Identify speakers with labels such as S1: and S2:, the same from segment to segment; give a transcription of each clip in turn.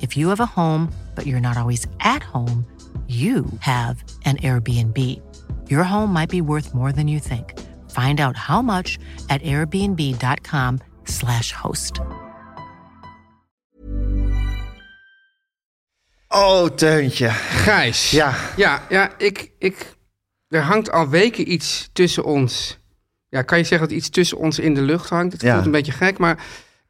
S1: If you have a home, but you're not always at home, you have an Airbnb. Your home might be worth more than you think. Find out how much at airbnb.com/slash host.
S2: Oh, Teuntje.
S3: Gijs.
S2: Ja.
S3: Ja, ja ik, ik, er hangt al weken iets tussen ons. Ja, kan je zeggen dat iets tussen ons in de lucht hangt? Het
S2: Ja.
S3: voelt een beetje gek, maar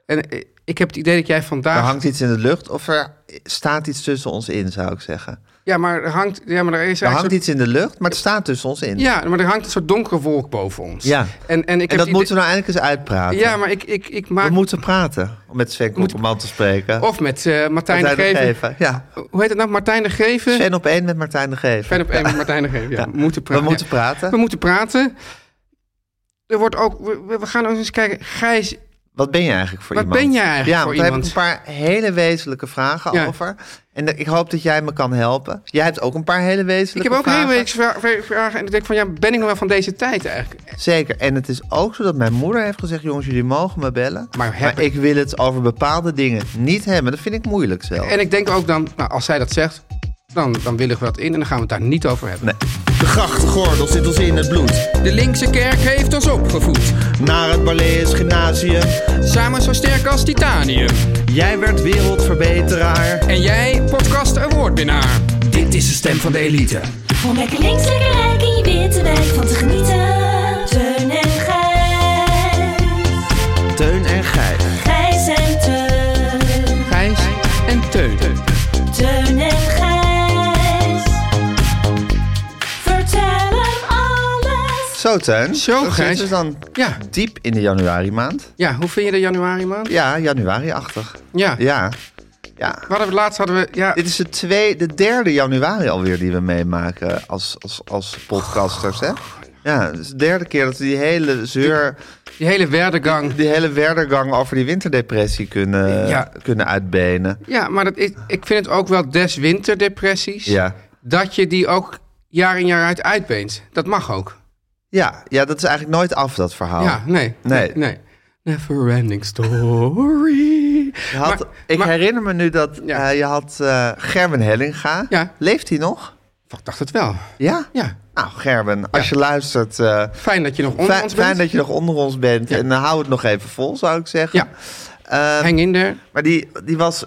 S3: en, eh, ik heb het idee dat jij
S2: Er
S3: vandaag...
S2: hangt iets in de lucht of er staat iets tussen ons in, zou ik zeggen.
S3: Ja, maar er hangt... Ja, maar er is
S2: Er
S3: eigenlijk
S2: hangt
S3: een
S2: iets in de lucht, maar het staat tussen ons in.
S3: soort- Ja, maar er hangt een soort donkere wolk boven ons.
S2: Ja.
S3: En, en, ik
S2: En
S3: heb
S2: dat
S3: het idee-
S2: moeten we nou eindelijk eens uitpraten.
S3: Ja, maar ik, ik, ik maak...
S2: We moeten praten om met Sven Kokkelman te spreken.
S3: Of met eh, Martijn de
S2: Martijn
S3: Geven.
S2: Ja.
S3: Hoe heet het nou? Martijn de Geven.
S2: Sven op één met Martijn de Geven.
S3: Fijn op één met Martijn de Geven. Ja, we moeten praten.
S2: We moeten
S3: Ja.
S2: praten.
S3: We moeten praten. Er wordt ook... We, we- we gaan ook eens kijken. Gijs,
S2: Wat ben je eigenlijk voor
S3: Wat
S2: iemand?
S3: ben jij eigenlijk
S2: ja,
S3: voor
S2: want
S3: iemand?
S2: Daar heb ik een paar hele wezenlijke vragen
S3: Ja.
S2: over. En ik hoop dat jij me kan helpen. Jij hebt ook een paar hele
S3: ik
S2: wezenlijke
S3: heb ook
S2: vragen.
S3: heel weeks vra- vra- vragen. En ik denk van, ja, ben ik nog wel van deze tijd eigenlijk?
S2: Zeker. En het is ook zo dat mijn moeder heeft gezegd... jongens, jullie mogen me bellen.
S3: Maar heb
S2: ik wil het over bepaalde dingen niet hebben. Dat vind ik moeilijk zelf.
S3: En ik denk ook dan, nou, als zij dat zegt, dan, dan willen we wat in. En dan gaan we het daar niet over hebben.
S2: Nee.
S4: De grachtgordel zit ons in het bloed.
S3: De linkse kerk heeft ons opgevoed.
S4: Naar het Balees Gymnasium.
S3: Samen zo sterk als titanium.
S4: Jij werd wereldverbeteraar.
S3: En jij, podcast awardwinnaar.
S4: Dit is de stem van de elite.
S5: Om lekker links, lekker rijk in je witte wijk van te genieten. Teun en Gijs.
S2: Teun en Gijs.
S5: Gijs en Teun.
S3: Gijs en Teun.
S5: Teun en Gijs. Vertel hem alles.
S2: Zo, Teun.
S3: Zo,
S2: Dat
S3: Gijs.
S2: zit dus dan
S3: Ja.
S2: diep in de januari maand.
S3: Ja, hoe vind je de januari maand?
S2: Ja, januari-achtig.
S3: Ja.
S2: Ja. Ja.
S3: We hadden, laatst hadden we... Ja,
S2: Dit is de, twee, de derde januari alweer die we meemaken als, als, als podcasters, hè? Ja, het is de derde keer dat we die hele zeur,
S3: die hele werdegang.
S2: die hele werdergang over die winterdepressie kunnen,
S3: Ja.
S2: kunnen uitbenen.
S3: Ja, maar dat is, ik vind het ook wel des winterdepressies.
S2: Ja.
S3: Dat je die ook jaar in jaar uit uitbeent. Dat mag ook.
S2: Ja, ja, dat is eigenlijk nooit af, dat verhaal.
S3: Ja, nee.
S2: Oh. Nee.
S3: Nee. Never ending story.
S2: Je had,
S3: Maar-
S2: ik
S3: maar-
S2: herinner me nu dat
S3: Ja.
S2: eh, je had eh, Gerben Hellinga.
S3: Ja.
S2: Leeft hij nog?
S3: Ik dacht het wel.
S2: Ja?
S3: Ja.
S2: Nou, Gerben, als je luistert... eh,
S3: Fijn dat je nog onder
S2: fijn,
S3: ons bent.
S2: fijn dat je nog onder ons bent.
S3: Ja.
S2: En eh, hou het nog even vol, zou ik zeggen.
S3: Ja.
S2: Eh,
S3: Hang in there.
S2: maar die, die was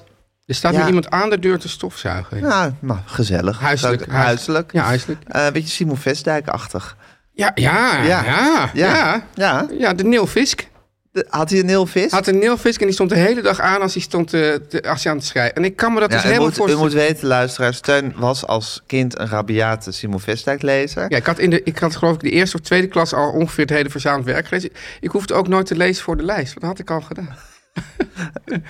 S3: Er staat
S2: Ja.
S3: nu iemand aan de deur te stofzuigen.
S2: Ja, nou, gezellig.
S3: Huiselijk,
S2: Zou ik-
S3: huis-
S2: Huiselijk.
S3: ja, huiselijk.
S2: Eh, beetje Simon Vestdijk-achtig.
S3: Ja, ja, ja, ja.
S2: ja.
S3: Ja,
S2: ja.
S3: de Neil Fisk.
S2: De- Had hij een heel vis?
S3: Had een Neil Fisk en die stond de hele dag aan als hij, stond te, te- als hij aan het schrijven. En ik kan me dat
S2: Ja,
S3: dus
S2: u,
S3: helemaal
S2: moet, u
S3: voorstellen.
S2: moet weten, luisteraars, Steun was als kind een rabiate Simon Vestdijk-lezer.
S3: Ja, ik had, in de, ik had geloof ik de eerste of tweede klas al ongeveer het hele verzameld werk gelezen. Ik hoefde ook nooit te lezen voor de lijst. want Dat had ik al gedaan.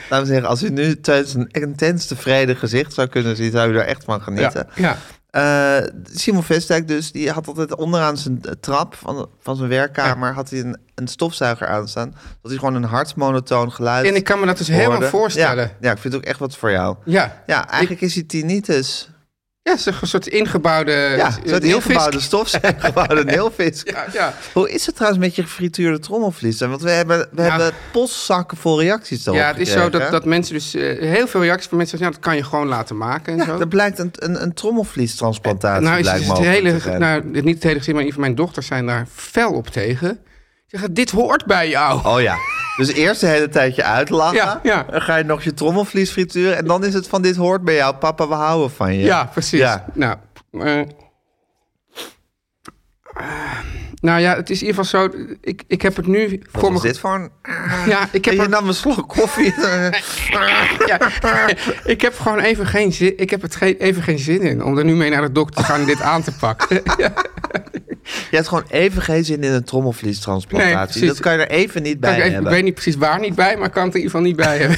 S2: Laten we zeggen, als u nu Teun zijn intens tevreden gezicht zou kunnen zien, zou u daar echt van genieten.
S3: ja.
S2: Eh, Simon Vestdijk dus, die had altijd onderaan zijn eh, trap van, van zijn werkkamer had hij een, een stofzuiger aanstaan. Dat hij gewoon een hard monotoon geluid
S3: En ik kan me dat dus
S2: hoorde.
S3: helemaal voorstellen.
S2: Ja, ja, ik vind het ook echt wat voor jou.
S3: Ja.
S2: Ja, eigenlijk is hij tinnitus.
S3: Ja, het is een soort ingebouwde...
S2: Ja,
S3: eh,
S2: zo'n
S3: Neil Fisk.
S2: ingebouwde stofzuiger, gewoon een neelvis.
S3: Ja, ja.
S2: Hoe is het trouwens met je gefrituurde trommelvlies? Want we hebben, we
S3: Ja.
S2: hebben postzakken vol reacties daarop
S3: Ja, het is zo
S2: gekregen,
S3: dat,
S2: hè?
S3: dat mensen dus... eh, heel veel reacties van mensen zeggen... Ja, dat kan je gewoon laten maken en
S2: Ja,
S3: zo.
S2: er blijkt een, een, een trommelvliestransplantatie
S3: nou, is,
S2: blijkt
S3: is het
S2: mogelijk
S3: hele,
S2: te zijn.
S3: nou, niet het hele gezin, maar een van mijn dochters zijn daar fel op tegen. Ze Zeggen, dit hoort bij jou.
S2: Oh ja. Dus eerst een hele tijdje uitlachen.
S3: Ja, ja.
S2: Dan ga je nog je trommelvlies frituren. En dan is het van dit hoort bij jou. Papa, we houden van je.
S3: Ja, precies.
S2: Ja.
S3: Nou, eh, nou ja, het is in ieder geval zo. Ik, ik heb het nu
S2: Wat
S3: voor
S2: is
S3: me.
S2: dit voor een...
S3: Ja, ik heb,
S2: je
S3: er,
S2: nam een slok koffie.
S3: ja, ik heb gewoon even geen zin. Ik heb het geen, even geen zin in om er nu mee naar de dokter te gaan en dit aan te pakken.
S2: Je hebt gewoon even geen zin in een
S3: Nee,
S2: trommelvliestransplantatie.
S3: precies.
S2: dat kan je er even niet bij
S3: ik, even- ik
S2: hebben.
S3: weet niet precies waar niet bij, maar ik kan het er in ieder geval niet bij hebben.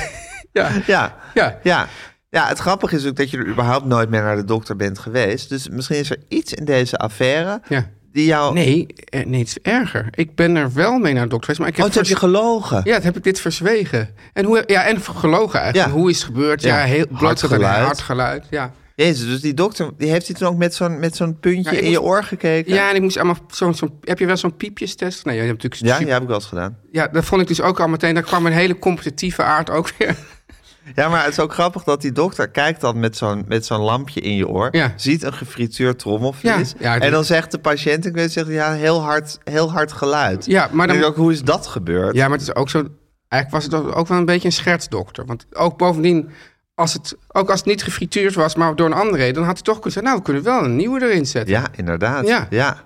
S3: ja.
S2: Ja.
S3: Ja.
S2: ja. Ja, het grappige is ook dat je er überhaupt nooit meer naar de dokter bent geweest. Dus misschien is er iets in deze affaire
S3: Ja.
S2: die jou...
S3: Nee, eh, nee, het is erger. Ik ben er wel mee naar de dokter geweest, maar ik
S2: oh,
S3: heb
S2: toen heb je
S3: vers-
S2: gelogen.
S3: Ja, dat heb ik dit verzwegen. En, hoe, ja, en gelogen eigenlijk.
S2: Ja.
S3: Hoe is het gebeurd? Ja,
S2: Ja.
S3: heel blootgelegd en
S2: Hartgeluid.
S3: hard geluid. Ja.
S2: Jezus, dus die dokter die heeft hij toen ook met zo'n, met zo'n puntje
S3: Ja, ik
S2: in je
S3: moest-
S2: oor gekeken?
S3: ja, en ik moest allemaal zo'n... zo'n- heb je wel zo'n piepjestest? Nee, je hebt natuurlijk...
S2: Ja,
S3: super-
S2: ja, heb ik wel eens gedaan.
S3: ja, dat vond ik dus ook al meteen. Daar kwam een hele competitieve aard ook weer.
S2: Ja, maar het is ook grappig dat die dokter kijkt dan met zo'n, met zo'n lampje in je oor.
S3: Ja.
S2: Ziet een gefrituurd trommelvlies.
S3: Ja, ja, die-
S2: en dan zegt de patiënt, ik weet zegt, hij, ja, heel hard, heel hard geluid.
S3: Ja, maar
S2: Ik denk
S3: dan-
S2: ook, hoe is dat gebeurd?
S3: Ja, maar het is ook zo... Eigenlijk was het ook wel een beetje een schertsdokter. Want ook bovendien... Als het, ook als het niet gefrituurd was, maar door een andere reden... dan had hij toch kunnen zeggen... nou, we kunnen wel een nieuwe erin zetten.
S2: Ja, inderdaad. Ja.
S3: Ja.
S2: ja.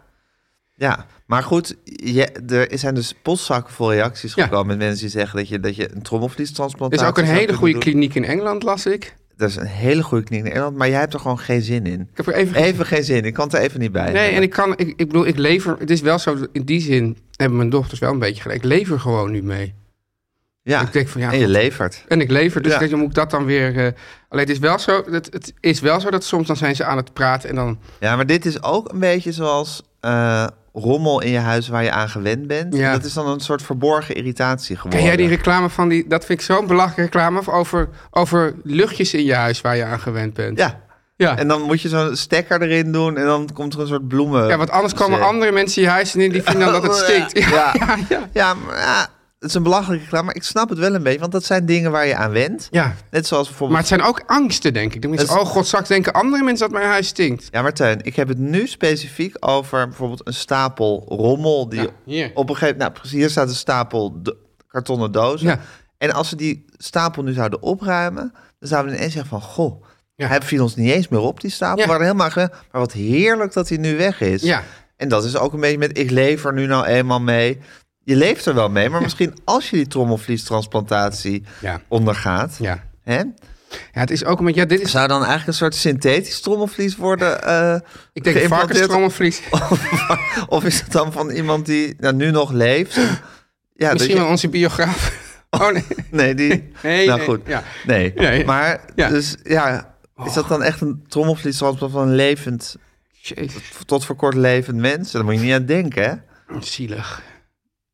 S2: maar goed, je, er zijn dus postzakken vol reacties
S3: Ja.
S2: gekomen met mensen die zeggen dat je, dat je een
S3: Er is
S2: trommelvliestransplantatie
S3: ook een
S2: zou
S3: hele
S2: kunnen
S3: goede
S2: doen.
S3: kliniek in Engeland, las ik.
S2: Er is een hele goede kliniek in Nederland, maar jij hebt er gewoon geen zin in.
S3: Ik heb er even...
S2: Even geen zin, ik kan het er even niet bij.
S3: Nee,
S2: hebben.
S3: en ik kan, ik, ik bedoel, ik lever. Het is wel zo, in die zin hebben mijn dochters wel een beetje gelijk. Ik lever gewoon nu mee.
S2: ja.
S3: ik denk van, ja,
S2: en je levert.
S3: En ik lever, dus
S2: Ja.
S3: dan moet ik dat dan weer. eh, alleen het is, wel zo, dat, het is wel zo dat soms dan zijn ze aan het praten en dan.
S2: Ja, maar dit is ook een beetje zoals eh, rommel in je huis waar je aan gewend bent.
S3: Ja.
S2: Dat is dan een soort verborgen irritatie geworden.
S3: Ken jij die reclame van die. Dat vind ik zo'n belachelijke reclame over, over luchtjes in je huis waar je aan gewend bent.
S2: Ja,
S3: ja.
S2: en dan moet je zo'n stekker erin doen en dan komt er een soort bloemen.
S3: ja want anders komen
S2: Zee.
S3: andere mensen je huis in die vinden dan dat het stinkt.
S2: eh, Oh, Ja, ja, Ja, maar ja, het is een belachelijke reclame, maar ik snap het wel een beetje, want dat zijn dingen waar je aan went.
S3: Ja.
S2: Net zoals
S3: Maar
S2: bijvoorbeeld.
S3: het zijn ook angsten, denk ik. Dan mensen,
S2: Dat
S3: oh god, straks denken andere mensen dat mijn huis stinkt.
S2: Ja, maar Teun, ik heb het nu specifiek over bijvoorbeeld een stapel rommel die
S3: Ja, hier.
S2: op een gegeven moment. Nou, precies, hier staat een stapel do- kartonnen dozen.
S3: Ja.
S2: En als ze die stapel nu zouden opruimen, dan zouden we ineens zeggen van goh.
S3: Ja.
S2: Hij viel ons niet eens meer op, die stapel.
S3: Ja.
S2: We waren helemaal gewend, maar wat heerlijk dat hij nu weg is.
S3: Ja.
S2: En dat is ook een beetje met ik leef er nu nou eenmaal mee. Je leeft er wel mee, maar misschien als je die trommelvliestransplantatie
S3: Ja.
S2: ondergaat,
S3: Ja.
S2: hè,
S3: Ja, het is ook een beetje. Ja, dit is
S2: zou dan eigenlijk een soort synthetisch trommelvlies worden eh
S3: Ik denk
S2: geïmplanteerd?
S3: varkenstrommelvlies.
S2: Of, of is het dan van iemand die nou, nu nog leeft? En- Ja, dat
S3: Misschien
S2: je-
S3: wel onze biograaf. Oh nee.
S2: Nee, die.
S3: Nee,
S2: nou
S3: nee,
S2: goed.
S3: ja.
S2: Nee.
S3: Nee.
S2: Maar
S3: Ja. Oh.
S2: dus ja, is dat dan echt een trommelvliestrans van een levend,
S3: Jezus,
S2: tot voor kort levend mens? Daar moet je niet aan denken, hè?
S3: zielig.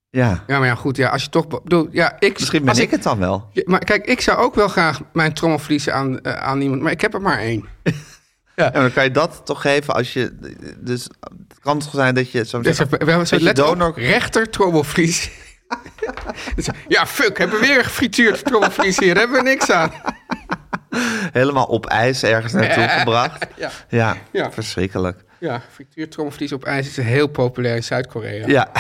S2: Ja.
S3: Ja, maar ja, goed. Ja, als je toch... be- bedoel, ja, ik,
S2: Misschien ben
S3: als
S2: ik, het dan wel.
S3: Ja, Maar kijk, ik zou ook wel graag mijn trommelvliezen aan, eh, aan iemand... Maar ik heb er maar één.
S2: Ja, maar dan kan je dat toch geven als je. Dus het kan toch zijn dat je. Zo
S3: Dus we we hebben zo
S2: je
S3: let op,
S2: donor-
S3: rechter trommelvlies. Dus, ja, fuck, hebben we weer een gefrituurd trommelvlies hier. Hebben we niks aan.
S2: helemaal op ijs ergens naartoe gebracht.
S3: Ja.
S2: Ja,
S3: Ja.
S2: verschrikkelijk.
S3: Ja, frituurd trommelvlies op ijs is heel populair in Zuid-Korea.
S2: Ja.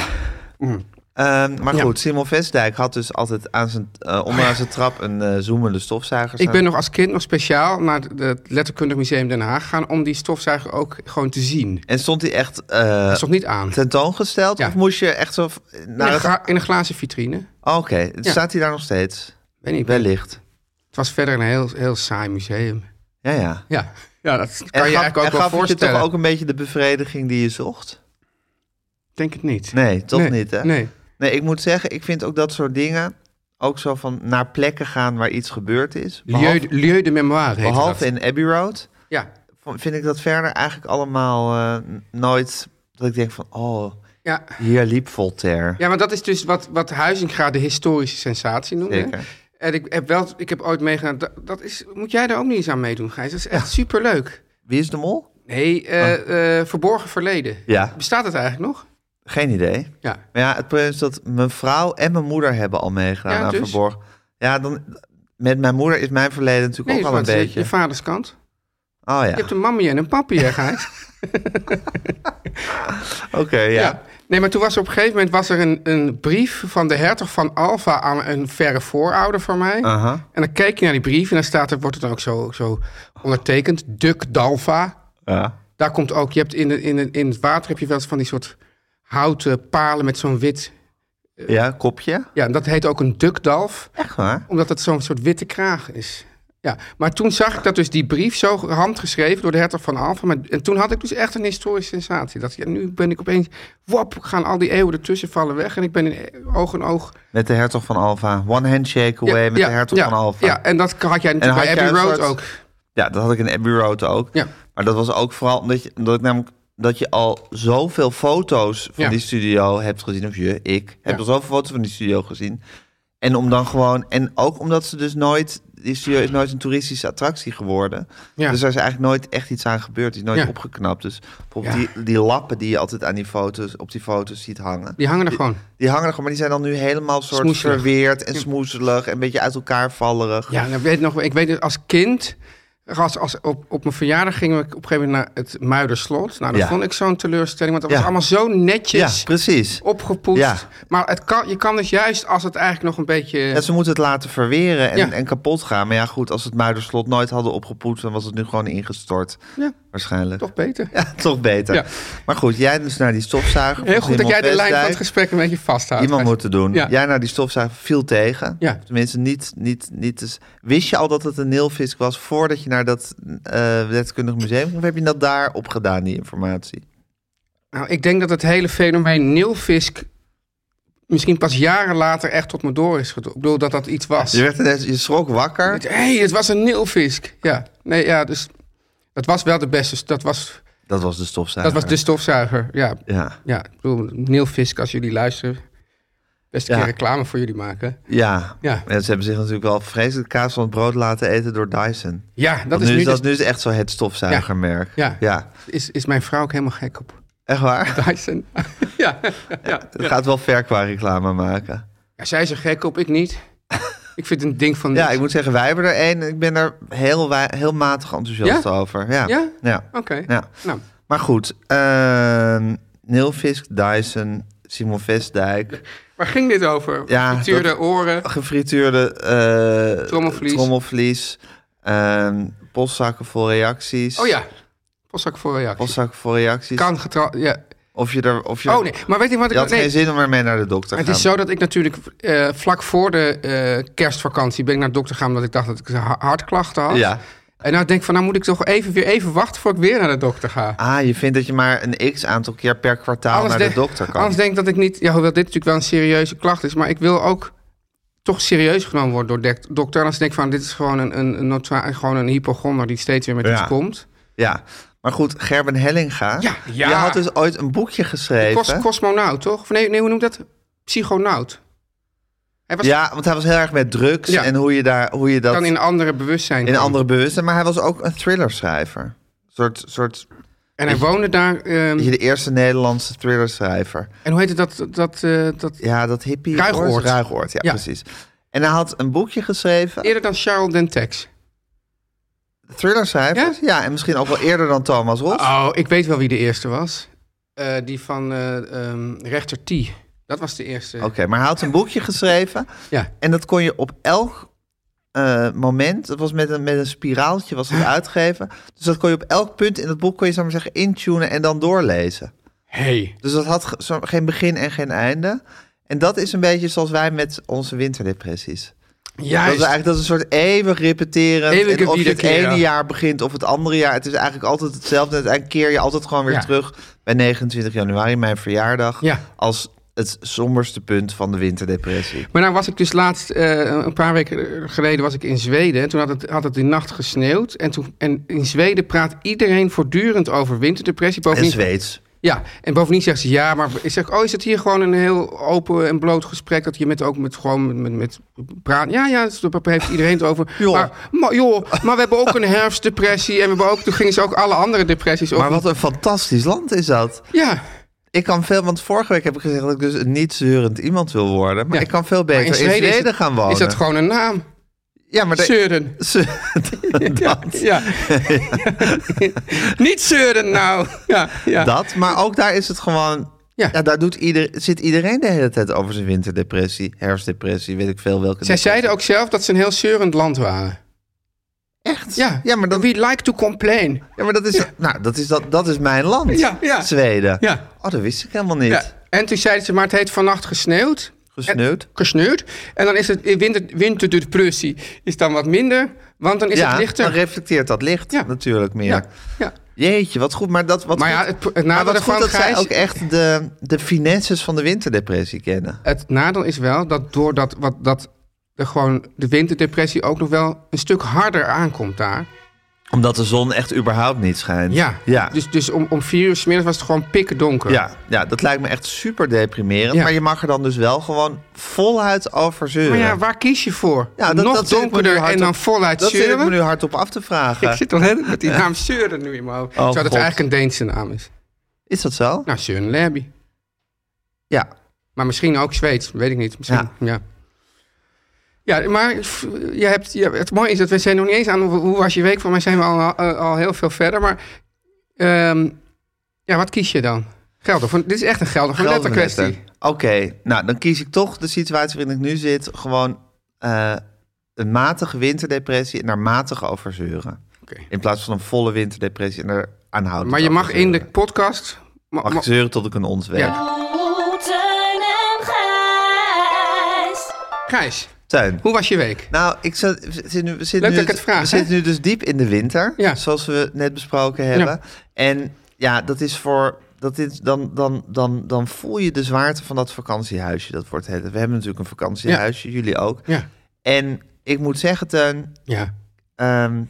S2: Ehm, maar
S3: Mm. Ja.
S2: goed, Simon Vestdijk had dus altijd aan zijn, eh, onderaan zijn trap een eh, zoemende stofzuiger
S3: Ik
S2: staan.
S3: ben nog als kind nog speciaal naar het- het Letterkundig Museum Den Haag gegaan... om die stofzuiger ook gewoon te zien.
S2: En stond hij echt eh,
S3: Dat is toch niet aan?
S2: tentoongesteld?
S3: Ja.
S2: Of moest je echt zo... v-
S3: In
S2: Naar
S3: een,
S2: het...
S3: gra- in een glazen vitrine.
S2: Oh, Oké, staat hij daar nog steeds?
S3: Weet niet,
S2: Wellicht.
S3: Het was verder een heel, heel saai museum.
S2: Ja, ja.
S3: Ja, ja dat kan je
S2: gaf-
S3: eigenlijk ook
S2: en
S3: wel
S2: gaf het je
S3: voorstellen.
S2: toch ook een beetje de bevrediging die je zocht?
S3: Ik Denk het niet.
S2: Nee, toch niet, hè?
S3: Nee.
S2: Nee, ik moet zeggen, ik vind ook dat soort dingen... ook zo van naar plekken gaan waar iets gebeurd is.
S3: Lieu,
S2: Behalve,
S3: lieu de Mémoire heet
S2: behalve
S3: dat.
S2: in Abbey Road...
S3: Ja.
S2: vond- vind ik dat verder eigenlijk allemaal eh, n- nooit... dat ik denk van, oh,
S3: Ja.
S2: hier liep Voltaire.
S3: ja, maar dat is dus wat, wat Huizinga de historische sensatie noemde.
S2: Zeker.
S3: En ik heb, wel, ik heb ooit meegedaan... Dat, dat is, moet jij daar ook niet eens aan meedoen, Gijs? Dat is echt superleuk.
S2: Wie is de mol?
S3: Nee, eh, eh, Verborgen Verleden.
S2: Oh. Ja.
S3: Bestaat het eigenlijk nog?
S2: Geen idee.
S3: Ja.
S2: Maar ja, het probleem is dat mijn vrouw en mijn moeder hebben al meegedaan
S3: Ja,
S2: aan
S3: dus?
S2: Verborgen. Ja, dan, met mijn moeder is mijn verleden natuurlijk
S3: Nee,
S2: ook
S3: dat
S2: al een
S3: is
S2: beetje.
S3: je vaders kant.
S2: Oh ja.
S3: Je hebt een mammy en een papi, hè, Gijs?
S2: Oké, ja.
S3: Ja. Nee, maar toen was er op een gegeven moment was er een, een brief van de hertog van Alfa aan een verre voorouder van mij.
S2: Aha.
S3: En dan kijk je naar die brief en dan staat er, wordt het dan ook zo, zo ondertekend. Duc d'Alfa.
S2: Ja.
S3: Daar komt ook, je hebt in, de, in, de- in het water heb je wel eens van die soort houten palen met zo'n wit.
S2: ja, kopje.
S3: Ja, en dat heet ook een duc d'Alf,
S2: Echt waar?
S3: omdat het zo'n soort witte kraag is. Ja, maar toen zag ik dat dus die brief zo handgeschreven door de hertog van Alfa. Maar- En toen had ik dus echt een historische sensatie. Dat, ja, nu ben ik opeens, wop, gaan al die eeuwen ertussen vallen weg. En ik ben in e- oog en oog...
S2: Met de hertog van Alfa. One handshake away met de hertog
S3: ja,
S2: van Alfa.
S3: Ja, en dat had jij
S2: En
S3: natuurlijk
S2: had
S3: bij
S2: jij
S3: Abbey
S2: een
S3: Road
S2: soort-
S3: ook.
S2: Ja, dat had ik in Abbey Road ook.
S3: Ja.
S2: Maar dat was ook vooral omdat, je, omdat ik namelijk dat je al zoveel foto's van
S3: Ja.
S2: die studio hebt gezien. Of je, ik, heb al zoveel foto's van die studio gezien. En om dan gewoon. En ook omdat ze dus nooit. Die studio is nooit een toeristische attractie geworden.
S3: Ja.
S2: Dus daar is eigenlijk nooit echt iets aan gebeurd. Die is nooit
S3: Ja.
S2: opgeknapt. Dus bijvoorbeeld
S3: Ja.
S2: die, die lappen die je altijd aan die foto's, op die foto's ziet hangen.
S3: Die hangen er gewoon.
S2: Die hangen er gewoon, maar die zijn dan nu helemaal soort
S3: Smoeselig.
S2: verweerd en smoezelig. En een beetje uit elkaar vallerig.
S3: Ja, en ik weet nog, ik weet het, als kind, als, als op, op mijn verjaardag gingen we op een gegeven moment naar het Muiderslot. Nou, dat
S2: Ja.
S3: vond ik zo'n teleurstelling, want dat
S2: Ja.
S3: was allemaal zo
S2: Ja,
S3: netjes
S2: precies.
S3: opgepoetst.
S2: Ja.
S3: Maar het kan, je kan dus juist als het eigenlijk nog een beetje...
S2: Ja, ze moeten het laten verweren en,
S3: Ja.
S2: en kapot gaan. Maar ja, goed, als ze het Muiderslot nooit hadden opgepoetst... dan was het nu gewoon ingestort,
S3: Ja,
S2: waarschijnlijk.
S3: toch beter.
S2: Ja, toch beter.
S3: Ja.
S2: Maar goed, jij dus naar die stofzuiger.
S3: Heel
S2: van
S3: goed dat
S2: Simon
S3: jij de lijn van
S2: Westdijk.
S3: het gesprek een beetje vasthoudt.
S2: Iemand moet het doen.
S3: Ja.
S2: Jij naar die stofzuiger viel tegen.
S3: Ja.
S2: Tenminste, niet... niet, niet dus. Wist je al dat het een neelvis was... voordat je naar dat eh wetkundig museum ging? Of heb je dat daar opgedaan, die informatie?
S3: Nou, ik denk dat het hele fenomeen Nilfisk misschien pas jaren later echt tot me door is gedo- Ik bedoel dat dat iets was.
S2: Je, werd ineens, je schrok wakker.
S3: Hé, hey, het was een nilfisk. Ja, nee, ja, dus dat was wel de beste. Dat was,
S2: Dat was de stofzuiger.
S3: dat was de stofzuiger. Ja,
S2: Ja.
S3: ja, ik bedoel, nilfisk, als jullie luisteren, best een
S2: Ja.
S3: keer reclame voor jullie maken.
S2: Ja.
S3: Ja.
S2: En ze hebben zich natuurlijk wel vreselijk kaas van het brood laten eten door Dyson.
S3: Ja, dat is
S2: Want nu,
S3: nu,
S2: is dat,
S3: dus-
S2: nu is echt zo het stofzuigermerk.
S3: Ja.
S2: ja.
S3: Is, is mijn vrouw ook helemaal gek op.
S2: Echt waar?
S3: Dyson. ja, ja,
S2: Het gaat wel ver qua reclame maken.
S3: ja. Zij is er gek op, ik niet. ik vind een ding van
S2: Ja,
S3: niks.
S2: ik moet zeggen, wij hebben er één. Ik ben er heel, wij- heel matig enthousiast
S3: Ja?
S2: over. Ja.
S3: Ja?
S2: ja.
S3: Oké,
S2: Ja.
S3: nou,
S2: Maar goed, eh, Nilfisk, Dyson, Simon Vestdijk,
S3: waar ging dit over?
S2: Ja,
S3: Ja, Tuurde
S2: dat-
S3: oren.
S2: gefrituurde eh,
S3: Trommelvlies.
S2: trommelvlies, eh, postzakken vol reacties.
S3: Oh ja, postzak voor reactie.
S2: Postzakken vol reacties.
S3: Kan getrouwd, ja.
S2: Of je er. Of je,
S3: Oh nee, maar weet je wat
S2: Je
S3: ik...
S2: had
S3: nee.
S2: geen zin om ermee naar de dokter te gaan.
S3: Het is zo dat ik natuurlijk eh, vlak voor de eh, kerstvakantie ben ik naar de dokter gegaan... omdat ik dacht dat ik ha- hartklachten had.
S2: Ja.
S3: En nou denk ik van, nou moet ik toch even, weer even wachten... voor ik weer naar de dokter ga.
S2: Ah, je vindt dat je maar een x aantal keer per kwartaal naar de,
S3: denk-
S2: dokter kan.
S3: Anders denk ik dat ik niet... Ja, hoewel dit natuurlijk wel een serieuze klacht is... maar ik wil ook toch serieus genomen worden door de dokter. Anders denk ik van, dit is gewoon een, een, een, notwa- gewoon een hypochonder... die steeds weer met
S2: Ja.
S3: iets komt.
S2: Ja, maar goed, Gerben Hellinga.
S3: Ja, ja.
S2: Je had dus ooit een boekje geschreven.
S3: Kos, cosmonaut, toch? Of nee, nee, hoe noem ik dat? Psychonaut. Hij was
S2: Ja, want hij was heel erg met drugs
S3: Ja.
S2: en hoe je, daar, hoe je dat
S3: dan in andere bewustzijn.
S2: in een
S3: kwam.
S2: andere bewustzijn... Maar hij was ook een thrillerschrijver. Een soort, soort
S3: Mm. En hij woonde daar... ehm,
S2: weet je, de eerste Nederlandse thrillerschrijver.
S3: en hoe heette dat... dat, eh, dat
S2: Ja, dat hippie...
S3: Ruigoord.
S2: Ruigoord, ja,
S3: Ja.
S2: precies. En hij had een boekje geschreven.
S3: Eerder dan Charles Dentex.
S2: Thrillerschrijvers? Ja? en misschien ook wel eerder dan Thomas Ross.
S3: Oh, ik weet wel wie de eerste was. Eh, die van eh, ehm, rechter T. Dat was de eerste.
S2: Oké, maar hij had een boekje geschreven.
S3: Ja.
S2: En dat kon je op elk eh, moment, dat was met een, met een spiraaltje, was het uitgeven. Dus dat kon je op elk punt in het boek, kon je, zou ik maar zeggen, intunen en dan doorlezen.
S3: Hey.
S2: Dus dat had ge- zo- geen begin en geen einde. En dat is een beetje zoals wij met onze winterdepressies. Dat is
S3: Juist.
S2: eigenlijk dat is een soort eeuwig repeteren.
S3: Eeuwige
S2: En of je het
S3: wiederkeer.
S2: ene jaar begint of het andere jaar. Het is eigenlijk altijd hetzelfde. En uiteindelijk keer je altijd gewoon weer
S3: Ja.
S2: terug bij 29 januari, mijn verjaardag.
S3: Ja.
S2: Als het somberste punt van de winterdepressie.
S3: Maar nou was ik dus laatst, eh, een paar weken geleden was ik in Zweden. En toen had het, had het die nacht gesneeuwd. En, toen, en in Zweden praat iedereen voortdurend over winterdepressie.
S2: En
S3: Bovendien,
S2: Zweeds.
S3: Ja, en bovendien zegt ze ja, maar ik zeg, oh, is het hier gewoon een heel open en bloot gesprek dat je met ook met gewoon met, met praat? Ja, ja, dus daar heeft iedereen het over.
S2: Joh.
S3: Maar, maar joh, maar we hebben ook een herfstdepressie en we hebben ook, toen gingen ze ook alle andere depressies over.
S2: Maar wat een fantastisch land is dat.
S3: Ja,
S2: Ik kan veel, want vorige week heb ik gezegd dat ik dus een niet zeurend iemand wil worden. Maar
S3: Ja.
S2: ik kan veel
S3: Maar
S2: beter in Zweden,
S3: is het-
S2: gaan wonen.
S3: Is dat gewoon een naam?
S2: Ja, maar... de-
S3: Zeuren.
S2: Ze- dat.
S3: Ja. Niet zeuren nou. Ja, ja.
S2: Dat, maar ook daar is het gewoon... Ja,
S3: Ja.
S2: daar doet ieder, zit iedereen de hele tijd over zijn winterdepressie, herfstdepressie, weet ik veel welke.
S3: Zij
S2: depressie.
S3: zeiden ook zelf dat ze een heel zeurend land waren.
S2: Echt?
S3: Ja,
S2: Ja, maar, dat,
S3: we like to complain.
S2: ja, maar dat, is, nou, dat, is, dat, dat is mijn land.
S3: Ja, ja.
S2: Zweden.
S3: Ja.
S2: Oh, dat wist ik helemaal niet.
S3: Ja. En toen zeiden ze, maar het heeft vannacht gesneeuwd.
S2: Gesneeuwd.
S3: Gesneeuwd. En dan is het in winter, winterdepressie is dan wat minder, want dan is
S2: ja,
S3: het lichter.
S2: dan reflecteert dat licht
S3: Ja.
S2: natuurlijk meer.
S3: ja. ja.
S2: Jeetje, wat goed. Maar, dat, wat
S3: Maar
S2: goed,
S3: ja, het- het nadeel
S2: maar wat
S3: daarvan,
S2: goed dat zij
S3: Gijs-
S2: ook echt de, de finesses van de winterdepressie kennen.
S3: Het nadeel is wel dat doordat wat, dat er gewoon de winterdepressie ook nog wel een stuk harder aankomt daar.
S2: Omdat de zon echt überhaupt niet schijnt.
S3: Ja.
S2: ja.
S3: Dus, dus om, om vier uur 's middags was het gewoon pikken donker.
S2: Ja, ja, dat lijkt me echt super deprimerend.
S3: Ja.
S2: Maar je mag er dan dus wel gewoon voluit over zeuren.
S3: Maar ja, waar kies je voor?
S2: Ja,
S3: nog
S2: zit ik me nu
S3: donkerder en
S2: hardop-
S3: dan voluit
S2: Dat zit ik me
S3: zeuren?
S2: nu hardop af te vragen.
S3: Ik zit al helemaal met die naam Zeuren nu in mijn hoofd. Terwijl dat
S2: God.
S3: eigenlijk een Deense naam is.
S2: Is dat zo?
S3: Nou, Zeuren Lerby.
S2: Ja.
S3: Maar misschien ook Zweeds, weet ik niet. Misschien, ja. ja. maar f- je hebt, je, het mooie is dat we zijn nog niet eens aan hoe, hoe was je week. Voor mij zijn we al, al, al heel veel verder. Maar ehm, ja, wat kies je dan? Gelder. Van, dit is echt een gelder van
S2: Geldernetten.
S3: letterkwestie.
S2: Oké, nou dan kies ik toch de situatie waarin ik nu zit. Gewoon eh, een matige winterdepressie en daar matig over zeuren.
S3: Oké.
S2: In plaats van een volle winterdepressie en daar aanhoudend
S3: Maar je
S2: over
S3: mag in de
S2: zeuren.
S3: podcast... ma-
S2: Mag
S3: ma-
S2: ik zeuren tot ik een ons weet.
S3: Ja.
S5: Oh, Teun en Gijs.
S3: Gijs,
S2: Teun.
S3: hoe was je week?
S2: Nou, ik zat, we zitten nu, we zitten
S3: Leuk
S2: nu,
S3: dat ik het
S2: We
S3: vraag, hè?
S2: zitten nu dus diep in de winter,
S3: Ja.
S2: zoals we net besproken hebben. En ja, dat is voor... Dat is, dan, dan, dan, dan voel je de zwaarte van dat vakantiehuisje. Dat wordt het. We hebben natuurlijk een vakantiehuisje, jullie ook.
S3: Ja.
S2: En ik moet zeggen, Teun,
S3: Ja.
S2: ehm,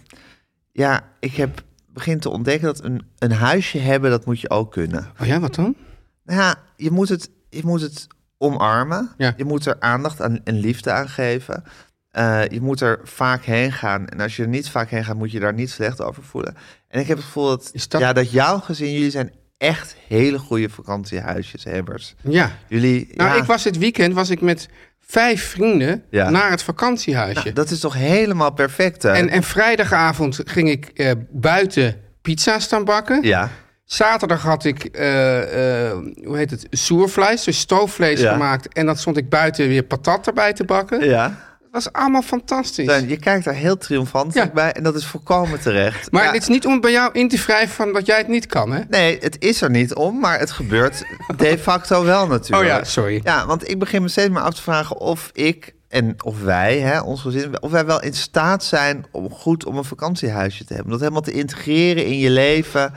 S2: ja, ik heb begin te ontdekken dat een, een huisje hebben, dat moet je ook kunnen.
S3: Oh ja, wat dan?
S2: Nou ja, je moet het, je moet het omarmen.
S3: Ja.
S2: Je moet er aandacht aan, en liefde aan geven. Eh, je moet er vaak heen gaan. En als je er niet vaak heen gaat, moet je daar niet slecht over voelen. En ik heb het gevoel dat,
S3: Is dat-
S2: Ja, dat jouw gezin, jullie zijn echt hele goede vakantiehuisjeshebbers.
S3: Ja.
S2: Jullie,
S3: Nou,
S2: ja,
S3: ik was dit weekend was ik met vijf vrienden
S2: Ja.
S3: naar het vakantiehuisje.
S2: nou, dat is toch helemaal perfect, hè?
S3: en, en vrijdagavond ging ik eh, buiten pizza's staan bakken.
S2: ja,
S3: Zaterdag had ik, eh, eh, hoe heet het, soervlees, dus stoofvlees
S2: Ja.
S3: gemaakt. En dat stond ik buiten weer patat erbij te bakken.
S2: ja.
S3: Het was allemaal fantastisch.
S2: Dan, je kijkt daar heel triomfantelijk
S3: Ja.
S2: bij en dat is volkomen terecht.
S3: maar
S2: Ja.
S3: het is niet om bij jou in te wrijven van dat jij het niet kan, hè?
S2: Nee, het is er niet om, maar het gebeurt de facto wel natuurlijk.
S3: Oh ja, sorry.
S2: Ja, want ik begin me steeds maar af te vragen of ik en of wij, hè, ons gezin, of wij wel in staat zijn om goed om een vakantiehuisje te hebben. Dat helemaal te integreren in je leven.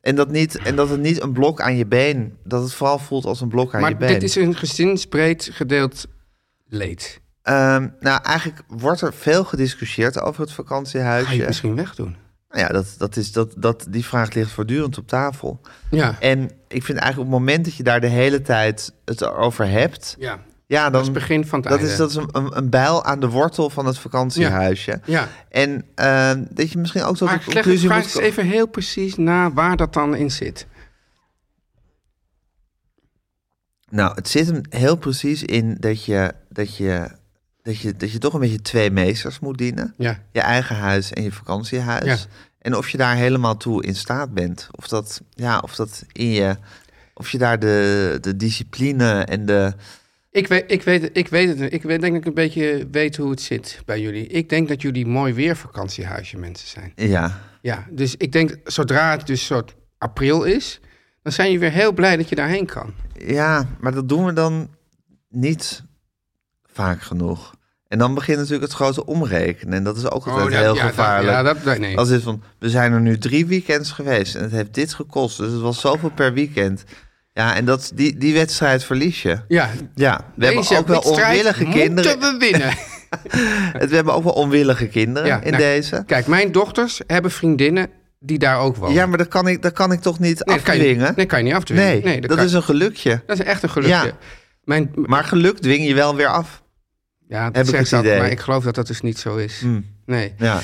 S2: En dat, niet, en dat het niet een blok aan je been, dat het vooral voelt als een blok aan je
S3: maar
S2: been.
S3: dit is een gezinsbreed gedeeld leed.
S2: Ehm, nou, eigenlijk wordt er veel gediscussieerd over het
S3: Ga Ah, je het
S2: vakantiehuisje.
S3: misschien wegdoen?
S2: Nou ja, dat, dat is, dat, dat, die vraag ligt voortdurend op tafel.
S3: Ja.
S2: En ik vind eigenlijk op het moment dat je daar de hele tijd het over hebt,
S3: ja.
S2: ja, dan
S3: Dat is het begin van het
S2: dat
S3: einde.
S2: is, dat is een, een, een bijl aan de wortel van het vakantiehuisje.
S3: Ja.
S2: En eh, dat je misschien ook tot
S3: Maar
S2: de
S3: leg het
S2: conclusie
S3: vraag
S2: moet
S3: eens
S2: komen-
S3: even heel precies na waar dat dan in zit.
S2: Nou, het zit hem heel precies in dat je, dat, je, dat, je, dat je toch een beetje twee meesters moet dienen.
S3: Ja.
S2: Je eigen huis en je vakantiehuis.
S3: Ja.
S2: En of je daar helemaal toe in staat bent. Of dat, ja, of dat in je... Of je daar de, de discipline en de...
S3: Ik weet, ik weet, ik weet het. niet. Ik weet, denk dat ik een beetje weet hoe het zit bij jullie. Ik denk dat jullie mooi weervakantiehuisje mensen zijn.
S2: Ja,
S3: Ja, dus ik denk zodra het dus soort april is, dan zijn je weer heel blij dat je daarheen kan.
S2: Ja, maar dat doen we dan niet vaak genoeg. En dan begint natuurlijk het grote omrekenen. En dat is ook altijd
S3: Oh, dat-
S2: heel
S3: ja, dat-
S2: gevaarlijk.
S3: ja, dat- nee, nee.
S2: Als dit van, we zijn er nu drie weekends geweest en het heeft dit gekost. Dus het was zoveel per weekend. Ja, en dat, die, die wedstrijd verlies je.
S3: Ja,
S2: Ja, we hebben
S3: deze
S2: ook wel
S3: wedstrijd
S2: onwillige kinderen.
S3: Moeten we winnen?
S2: Het, we hebben ook wel onwillige kinderen
S3: Ja,
S2: in
S3: nou,
S2: deze.
S3: Kijk, mijn dochters hebben vriendinnen die daar ook wonen.
S2: Ja, maar dat kan ik, dat kan ik toch niet
S3: nee, dat kan je,
S2: afdwingen?
S3: nee, dat kan je niet afdwingen.
S2: nee,
S3: Nee,
S2: dat,
S3: kan-
S2: is een gelukje.
S3: dat is echt een gelukje.
S2: Ja.
S3: Mijn,
S2: Maar geluk dwing je wel weer af.
S3: Ja, dat
S2: Heb ik
S3: zegt
S2: het
S3: dat,
S2: idee. Mm.
S3: maar ik geloof dat dat dus niet zo is. Nee.
S2: Ja,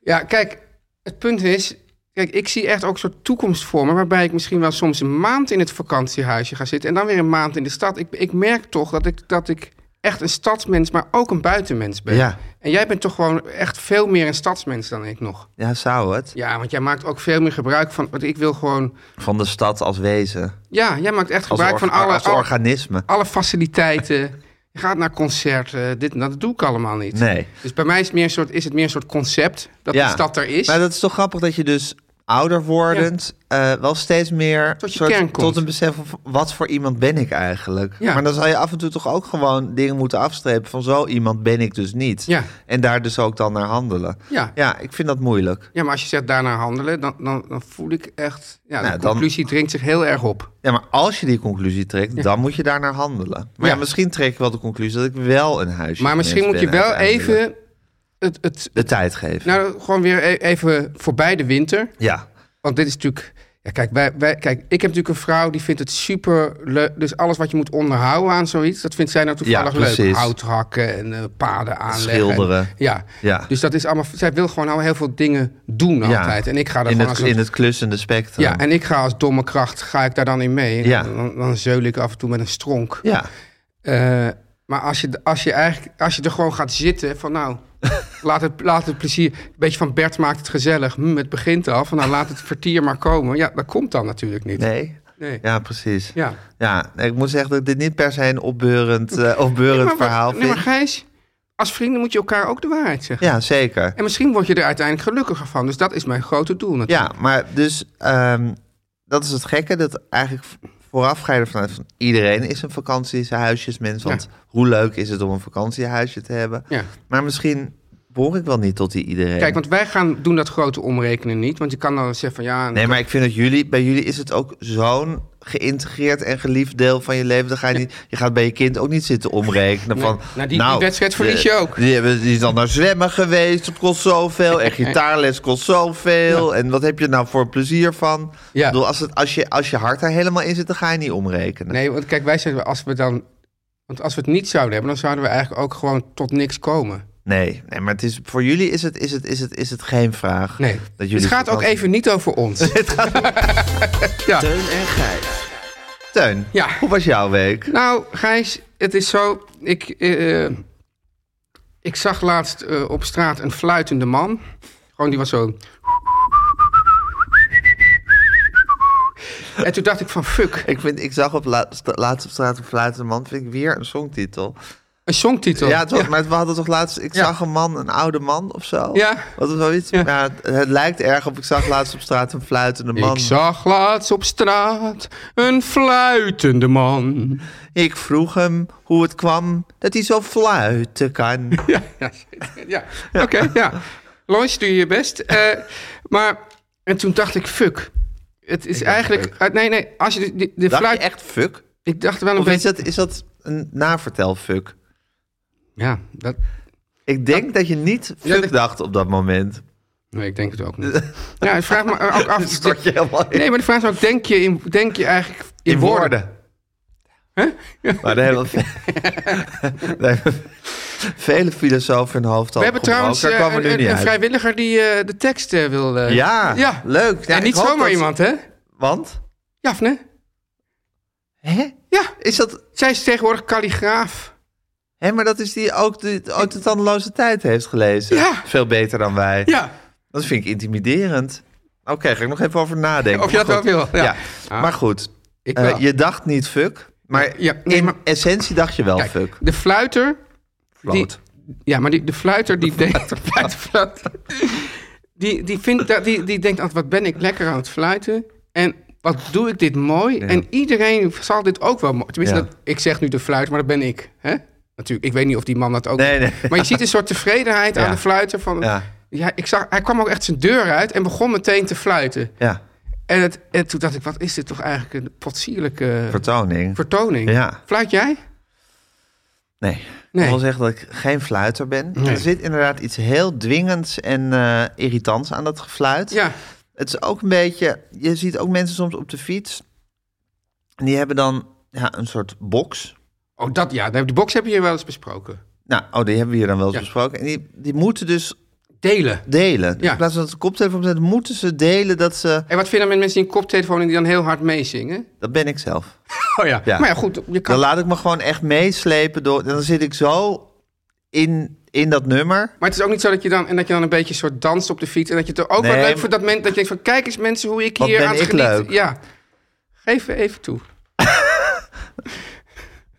S3: Ja, kijk, het punt is... Kijk, ik zie echt ook zo'n toekomst voor me... waarbij ik misschien wel soms een maand in het vakantiehuisje ga zitten... en dan weer een maand in de stad. Ik, ik merk toch dat ik, dat ik echt een stadsmens, maar ook een buitenmens bent.
S2: Ja.
S3: En jij bent toch gewoon echt veel meer een stadsmens dan ik nog.
S2: Ja, zou het.
S3: Ja, want jij maakt ook veel meer gebruik van. Want ik wil gewoon.
S2: Van de stad als wezen.
S3: Ja, jij maakt echt
S2: Als,
S3: gebruik
S2: orga-
S3: van alle,
S2: als
S3: alle,
S2: organisme.
S3: alle faciliteiten. Je gaat naar concerten, dit en dat. Dat doe ik allemaal niet.
S2: Nee.
S3: Dus bij mij is het meer een soort, is het meer een soort concept dat
S2: Ja.
S3: de stad er is.
S2: Maar dat is toch grappig dat je dus ouder wordend eh, wel steeds meer
S3: Tot je kern komt.
S2: tot een besef van wat voor iemand ben ik eigenlijk.
S3: Ja.
S2: Maar dan zal je af en toe toch ook gewoon dingen moeten afstrepen van zo iemand ben ik dus niet.
S3: Ja.
S2: En daar dus ook dan naar handelen.
S3: Ja.
S2: ja ik vind dat moeilijk.
S3: Ja, maar als je zegt daarna handelen, dan, dan, dan voel ik echt... Ja,
S2: Nou,
S3: de
S2: dan-
S3: conclusie dringt zich heel erg op.
S2: Ja, maar als je die conclusie trekt, dan moet je daar naar handelen. Maar ja.
S3: Ja.
S2: misschien trek ik wel de conclusie dat ik wel een huisje.
S3: Maar misschien moet je wel even het, het,
S2: de tijd geven.
S3: nou, gewoon weer e- even voorbij de winter.
S2: ja.
S3: Want dit is natuurlijk... Ja, kijk, wij, wij, kijk, ik heb natuurlijk een vrouw die vindt het super leuk. Dus alles wat je moet onderhouden aan zoiets, dat vindt zij nou toevallig
S2: Ja,
S3: leuk.
S2: precies.
S3: Hout hakken en eh, paden aanleggen.
S2: Schilderen.
S3: Ja.
S2: Ja.
S3: Dus dat is allemaal... Zij wil gewoon al heel veel dingen doen
S2: Ja.
S3: altijd. En ik ga daar
S2: in
S3: gewoon
S2: het,
S3: als een-
S2: in het klussende spectrum.
S3: Ja, en ik ga als domme kracht, ga ik daar dan in mee.
S2: Ja.
S3: Dan, dan zeul ik af en toe met een stronk.
S2: ja.
S3: Eh, maar als je, als, je eigenlijk, als je er gewoon gaat zitten van nou, laat het, laat het plezier... Een beetje van Bert maakt het gezellig. Hm, het begint al. Van nou, laat het vertier maar komen. Ja, dat komt dan natuurlijk niet.
S2: Nee.
S3: Nee.
S2: Ja, precies.
S3: Ja.
S2: Ja, nee, ik moet zeggen dat ik dit niet per se een opbeurend, eh, opbeurend
S3: maar, wat-
S2: verhaal
S3: nee, maar
S2: vind.
S3: Gijs, als vrienden moet je elkaar ook de waarheid zeggen.
S2: Ja, zeker.
S3: En misschien word je er uiteindelijk gelukkiger van. Dus dat is mijn grote doel natuurlijk.
S2: Ja, maar dus ehm, dat is het gekke. Dat eigenlijk vooraf ga je ervan uit van iedereen is een vakantiehuisjesmens. Want hoe leuk is het om een vakantiehuisje te hebben.
S3: Ja.
S2: Maar misschien behoor ik wel niet tot die iedereen.
S3: Kijk, want wij gaan, doen dat grote omrekenen niet. Want je kan dan zeggen van ja...
S2: Nee, maar ik vind dat jullie, bij jullie is het ook zo'n geïntegreerd en geliefd deel van je leven. Dan ga je, niet, je gaat bij je kind ook niet zitten omrekenen van...
S3: nou, die- die wedstrijd verlies
S2: de-
S3: je ook.
S2: Die, hebben, die is dan naar zwemmen geweest, dat kost zoveel. En gitaarles kost zoveel. En wat heb je nou voor plezier van?
S3: Ja.
S2: Ik bedoel, als, het, als, je, als je hart daar helemaal in zit, dan ga je niet omrekenen.
S3: Nee, want kijk, wij zeggen als we dan. Want als we het niet zouden hebben, dan zouden we eigenlijk ook gewoon tot niks komen.
S2: Nee, nee, maar het is, voor jullie is het, is, het, is, het, is het geen vraag.
S3: Nee.
S2: dat jullie
S3: het gaat ook
S2: vakantie-
S3: even niet over ons.
S4: Teun en Gijs.
S2: Teun,
S3: Ja.
S2: hoe was jouw week?
S3: nou, Gijs, het is zo. Ik, eh, ik zag laatst eh, op straat een fluitende man. Gewoon die was zo. En toen dacht ik van fuck,
S2: Ik, vind, ik zag op laatst, laatst op straat een fluitende man, vind ik weer een songtitel.
S3: een songtitel.
S2: Ja, het was- maar we hadden toch laatst... Ik
S3: Ja.
S2: zag een man, een oude man of zo.
S3: Ja.
S2: Wat was wel iets...
S3: Ja.
S2: ja, het, het lijkt erg op... Ik zag laatst op straat een fluitende man.
S3: Ik zag laatst op straat een fluitende man.
S2: Ik vroeg hem hoe het kwam dat hij zo fluiten kan.
S3: Ja, ja, ja. oké, ja. Lois, doe je best. Eh, maar, en toen dacht ik, fuck. Het is eigenlijk... eh, nee, nee, als je de, de, de
S2: Dacht je
S3: fluit...
S2: echt fuck?
S3: Ik dacht wel een
S2: Of is
S3: beetje...
S2: dat, is dat een navertel fuck?
S3: Ja, dat...
S2: Ik denk dat je niet
S3: Ja,
S2: fuck
S3: dat-
S2: dacht op dat moment.
S3: Nee, ik denk het ook niet. Ja, ik vraag me ook af...
S2: Stort je helemaal in,
S3: Nee, maar de vraag is ook, denk je, in, denk je eigenlijk in,
S2: in
S3: woorden?
S2: woorden. Maar daar hebben we... daar hebben we Vele filosofen hun hoofd al
S3: We hebben
S2: opgebroken.
S3: trouwens
S2: Oh, Daar
S3: eh,
S2: kwamen we nu
S3: een,
S2: niet
S3: een
S2: uit.
S3: vrijwilliger die eh, de tekst eh, wil... eh,
S2: Ja,
S3: ja.
S2: leuk. Ja,
S3: en niet
S2: ik hoop
S3: zomaar
S2: dat-
S3: iemand, hè?
S2: Want?
S3: Jafne?
S2: Hè?
S3: Ja,
S2: Is dat...
S3: zij is tegenwoordig kalligraaf.
S2: Hé, maar dat is die ook de, ook de tandeloze tijd heeft gelezen.
S3: Ja.
S2: Veel beter dan wij.
S3: Ja,
S2: Dat vind ik intimiderend. Oké, ga ik nog even over nadenken.
S3: Of je
S2: Maar
S3: dat
S2: goed.
S3: wel wil, ja. Ah.
S2: Maar goed,
S3: ik
S2: eh,
S3: wel.
S2: je dacht niet fuck, maar
S3: Ja, nee,
S2: in
S3: maar-
S2: essentie dacht je wel
S3: Kijk,
S2: fuck.
S3: de fluiter... die-
S2: Kloot.
S3: ja, maar die, de fluiter die denkt... de fluiter- die, die, vindt, dat- die, die denkt altijd, wat ben ik lekker aan het fluiten. En wat doe ik dit mooi. En iedereen zal dit ook wel mooi... Tenminste,
S2: Ja.
S3: dat, ik zeg nu de fluiter, maar dat ben ik. Hè? Natuurlijk, ik weet niet of die man dat ook...
S2: Nee, nee.
S3: Maar je ziet een soort tevredenheid
S2: Ja.
S3: aan de fluiter. Van,
S2: Ja.
S3: ja. ik zag, hij kwam ook echt zijn deur uit en begon meteen te fluiten.
S2: Ja,
S3: En, het, en toen dacht ik, wat is dit toch eigenlijk een potsierlijke
S2: vertoning.
S3: vertoning.
S2: Ja.
S3: Fluit jij?
S2: Nee.
S3: Nee.
S2: Ik wil zeggen dat ik geen fluiter ben. Er zit inderdaad iets heel dwingends en eh, irritants aan dat gefluit.
S3: Ja.
S2: Het is ook een beetje... Je ziet ook mensen soms op de fiets. En die hebben dan ja, een soort box.
S3: Oh, dat ja. Die box heb je hier wel eens besproken.
S2: Nou, oh, die hebben we hier dan wel eens
S3: Ja.
S2: besproken. En die, die moeten dus
S3: Delen.
S2: delen. Dus
S3: Ja.
S2: in plaats van dat ze koptelefoon zetten, moeten ze delen dat ze...
S3: En wat vind je dan met mensen die een koptelefoon en die dan heel hard meezingen?
S2: Dat ben ik zelf.
S3: Oh ja.
S2: Ja.
S3: Maar ja, goed, je kan...
S2: Dan laat ik me gewoon echt meeslepen door. Dan zit ik zo in, in dat nummer.
S3: Maar het is ook niet zo dat je dan, en dat je dan een beetje soort danst op de fiets. En dat je het er ook
S2: Nee,
S3: wel leuk
S2: maar-
S3: vindt dat, men, dat je denkt van... Kijk eens mensen hoe ik
S2: Wat
S3: hier
S2: ben
S3: aan het
S2: ik
S3: genieten.
S2: leuk.
S3: Ja. Geef even toe.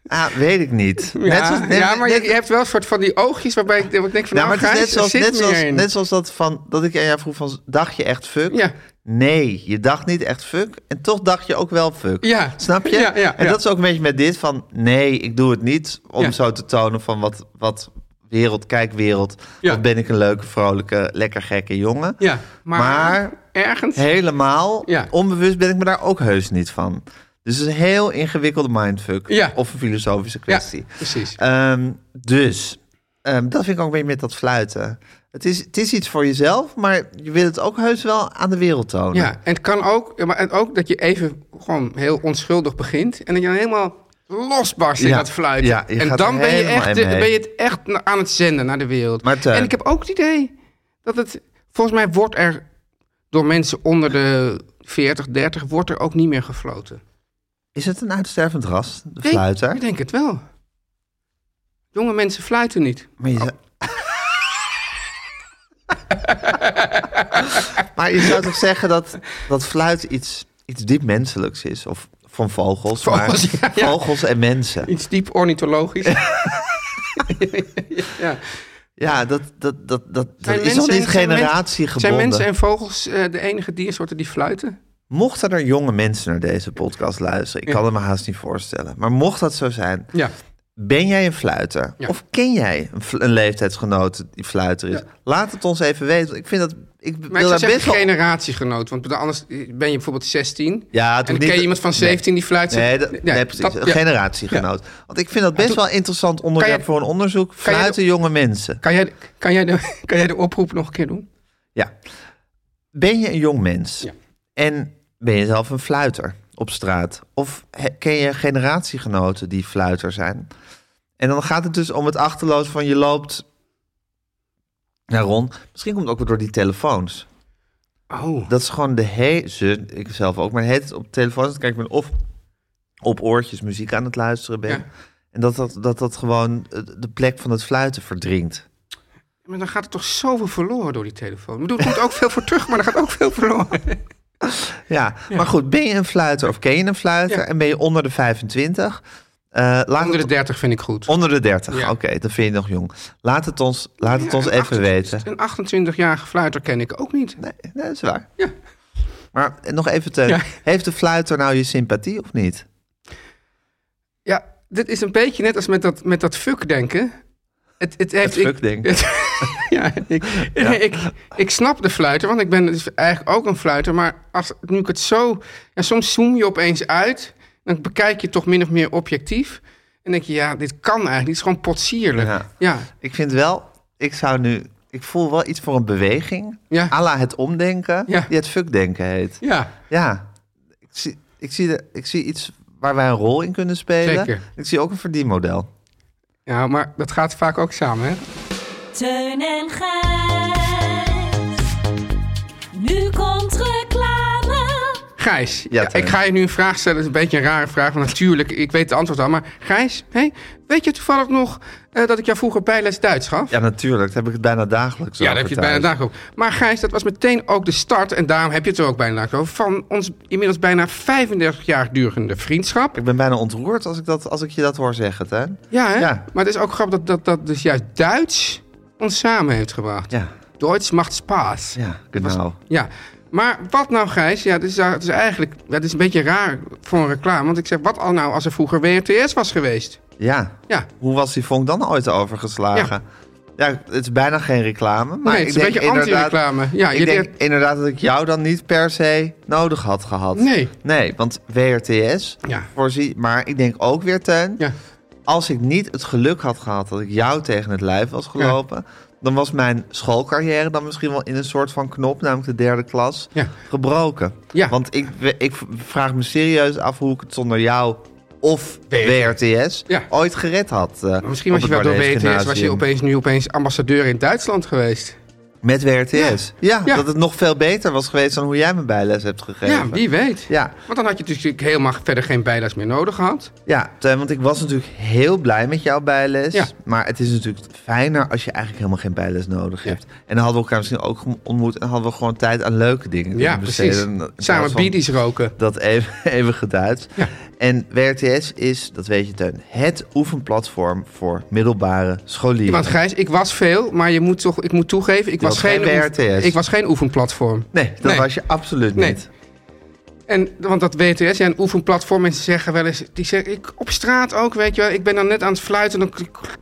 S2: Ah, weet ik niet.
S3: Ja,
S2: Net zoals- nee,
S3: ja maar
S2: net-
S3: je, je hebt wel een soort van die oogjes waarbij ik denk van...
S2: Ja,
S3: nou,
S2: maar het is
S3: Gijs,
S2: net zoals,
S3: er
S2: net,
S3: zit meer
S2: zoals,
S3: in.
S2: net zoals dat van dat ik aan jou vroeg van dacht je echt fuck?
S3: Ja.
S2: Nee, je dacht niet echt fuck en toch dacht je ook wel fuck.
S3: Ja.
S2: Snap je?
S3: Ja, ja,
S2: en
S3: ja.
S2: dat is ook een beetje met dit van nee, ik doe het niet om
S3: Ja.
S2: zo te tonen van wat, wat wereld, kijk wereld,
S3: Ja.
S2: wat ben ik een leuke, vrolijke, lekker gekke jongen.
S3: Ja, maar,
S2: Maar-
S3: ergens...
S2: Helemaal
S3: Ja.
S2: onbewust ben ik me daar ook heus niet van. Dus het is een heel ingewikkelde mindfuck
S3: Ja.
S2: of een filosofische
S3: ja,
S2: kwestie.
S3: precies.
S2: Ehm, dus, ehm, dat vind ik ook een beetje met dat fluiten. Het is, het is iets voor jezelf, maar je wil het ook heus wel aan de wereld tonen.
S3: Ja, en het kan ook, ja, maar het ook dat je even gewoon heel onschuldig begint. En dat je dan helemaal losbarst in
S2: Ja,
S3: dat fluiten.
S2: ja, je
S3: en
S2: gaat
S3: dan
S2: er
S3: ben je,
S2: helemaal
S3: echt,
S2: in
S3: de-
S2: mee.
S3: ben je het echt na- aan het zenden naar de wereld.
S2: Maar eh, Teun-
S3: en ik heb ook het idee dat het... Volgens mij wordt er door mensen onder de 40, 30... wordt er ook niet meer gefloten.
S2: Is het een uitstervend ras, de
S3: Denk-
S2: fluiter?
S3: Ik denk het wel. Jonge mensen fluiten niet.
S2: Maar je, zou... maar je zou toch zeggen dat, dat fluit iets, iets diep menselijks is? Of van vogels,
S3: Vogels,
S2: maar
S3: ja, ja.
S2: vogels en mensen.
S3: Iets diep ornithologisch. ja.
S2: Ja, dat, dat, dat, dat, dat
S3: Zijn
S2: is nog
S3: mensen-
S2: niet
S3: zijn men-
S2: generatiegebonden.
S3: Zijn mensen en vogels eh, de enige diersoorten die fluiten?
S2: Mochten er jonge mensen naar deze podcast luisteren, ik kan het me haast niet voorstellen. Maar mocht dat zo zijn,
S3: Ja.
S2: ben jij een fluiter?
S3: Ja.
S2: Of ken jij een, fl- een leeftijdsgenoot die fluiter is? Laat het ons even weten. want Ik vind dat. Ik
S3: Maar
S2: wil
S3: ik
S2: daar
S3: zou zeggen
S2: best wel.
S3: generatiegenoot, want anders ben je bijvoorbeeld 16.
S2: Ja, het
S3: en
S2: hoeft
S3: dan
S2: niet-
S3: ken je iemand van 17 die fluit.
S2: Nee, dat,
S3: Ja,
S2: nee, precies.
S3: dat-
S2: een
S3: ja.
S2: generatiegenoot. Want ik vind dat best wel een interessant onderwerp
S3: kan je-
S2: voor een onderzoek.
S3: je
S2: Fluiten jonge mensen.
S3: Kan jij, kan, jij de, kan jij de oproep nog een keer doen?
S2: Ja. Ben je een jong mens?
S3: Ja.
S2: En ben je zelf een fluiter op straat? Of he- ken je generatiegenoten die fluiter zijn? En dan gaat het dus om het achterloos van je loopt naar rond. Misschien komt het ook weer door die telefoons.
S3: Oh.
S2: Dat is gewoon de he ze, ik zelf ook, maar het op telefoons. Dan kijk ik ben of op oortjes muziek aan het luisteren ben.
S3: Ja.
S2: En dat dat, dat dat gewoon eh, de plek van het fluiten verdrinkt.
S3: Maar dan gaat er toch zoveel verloren door die telefoon. Ik bedoel, er komt ook veel voor terug, maar er gaat ook veel verloren.
S2: Ja, maar goed, ben je een fluiter of ken je een fluiter
S3: Ja.
S2: en ben je onder de 25? Eh, laat
S3: Onder de
S2: het-
S3: 30 vind ik goed.
S2: onder de 30,
S3: Ja.
S2: oké, dan vind je nog jong. Laat het ons, laat het
S3: Ja,
S2: ons
S3: een
S2: even
S3: 28
S2: weten.
S3: Een 28-jarige fluiter ken ik ook niet.
S2: Nee, nee, dat is waar.
S3: Ja.
S2: Maar nog even, Teun,
S3: Ja.
S2: heeft de fluiter nou je sympathie of niet?
S3: Ja, dit is een beetje net als met dat, met dat fuck-denken. Het, het, heeft,
S2: Het
S3: ik-
S2: fuck-denken.
S3: het- ja, ik, nee, ik, ik snap de fluiter, want ik ben dus eigenlijk ook een fluiter. Maar als, nu ik het zo... Ja, soms zoom je opeens uit. Dan bekijk je toch min of meer objectief. En denk je, ja, dit kan eigenlijk. Dit is gewoon potsierlijk.
S2: Ja.
S3: Ja, ja,
S2: Ik vind wel, ik zou nu, ik voel wel iets voor een beweging.
S3: Ja.
S2: à la het omdenken,
S3: Ja.
S2: die het fuckdenken heet.
S3: ja.
S2: Ja, ik zie, ik, zie de, ik zie iets waar wij een rol in kunnen spelen.
S3: Zeker.
S2: Ik zie ook een verdienmodel.
S3: maar dat gaat vaak ook samen, hè?
S5: Teun en Gijs. Nu komt reclame.
S3: Gijs,
S2: Ja,
S3: ja,
S2: Teun.
S3: ik ga je nu een vraag stellen. Het is een beetje een rare vraag, want natuurlijk, ik weet het antwoord al. Maar Gijs, hey, weet je toevallig nog eh, dat ik jou vroeger bijles Duits gaf?
S2: Ja, natuurlijk. Dat heb ik het bijna dagelijks
S3: Ja, daar
S2: over
S3: heb je het bijna
S2: thuis.
S3: dag over. Maar Gijs, dat was meteen ook de start, en daarom heb je het er ook bijna dagelijks over, van ons inmiddels bijna 35 jaar durende vriendschap.
S2: Ik ben bijna ontroerd als ik, dat, als ik je dat hoor zeggen, hè?
S3: Ja, hè?
S2: Ja.
S3: Maar het is ook grappig dat, dat dat dus juist Duits ons samen heeft gebracht.
S2: Ja,
S3: Duits macht Spaß.
S2: ja, nou, genau.
S3: Ja, maar wat nou Gijs? Ja, dit is, het is eigenlijk ja, dit is een beetje raar voor een reclame. Want ik zeg, wat al nou als er vroeger WRTS was geweest?
S2: Ja.
S3: Ja,
S2: Hoe was die vonk dan ooit overgeslagen? Ja, het is bijna geen reclame, maar
S3: nee,
S2: ik
S3: het is
S2: denk
S3: een beetje
S2: inderdaad...
S3: anti-reclame. Ja,
S2: ik
S3: je
S2: denk
S3: leert-
S2: inderdaad dat ik jou dan niet per se nodig had gehad.
S3: Nee.
S2: Nee, want WRTS,
S3: Ja.
S2: voorzie, maar ik denk ook weer, Teun...
S3: ja.
S2: als ik niet het geluk had gehad dat ik jou tegen het lijf was gelopen... dan was mijn schoolcarrière dan misschien wel in een soort van knop... namelijk de derde klas,
S3: Ja.
S2: gebroken.
S3: Ja.
S2: Want ik, ik vraag me serieus af hoe ik het zonder jou of WRTS
S3: Ja.
S2: ooit gered had. eh,
S3: Maar misschien
S2: op
S3: was je wel
S2: het
S3: door
S2: Barnees
S3: WTS, was je
S2: Gymnasium.
S3: opeens, nu opeens ambassadeur in Duitsland geweest.
S2: Met WRTS. Ja.
S3: Ja.
S2: dat het nog veel beter was geweest dan hoe jij me bijles hebt gegeven.
S3: Ja, wie weet.
S2: Ja.
S3: Want dan had je natuurlijk helemaal verder geen bijles meer nodig gehad.
S2: Ja, Teun, want ik was natuurlijk heel blij met jouw bijles.
S3: Ja.
S2: Maar het is natuurlijk fijner als je eigenlijk helemaal geen bijles nodig hebt. En dan hadden we elkaar misschien ook gem- ontmoet en hadden we gewoon tijd aan leuke dingen
S3: Ja,
S2: kunnen
S3: precies.
S2: besteden. In plaats
S3: Samen
S2: van
S3: bidies roken.
S2: Dat even, even geduid.
S3: Ja.
S2: En WRTS is, dat weet je Teun, het oefenplatform voor middelbare scholieren.
S3: Want Gijs, ik was veel, maar je moet toch, ik moet toegeven, ik was,
S2: was
S3: geen
S2: geen
S3: oef-
S2: WRTS.
S3: ik was geen oefenplatform.
S2: Nee, dat
S3: Nee.
S2: was je absoluut
S3: Nee.
S2: niet.
S3: En, want dat WTS, ja, een oefenplatform, mensen zeggen wel eens... Die zeggen, ik, op straat ook, weet je wel. Ik ben dan net aan het fluiten dan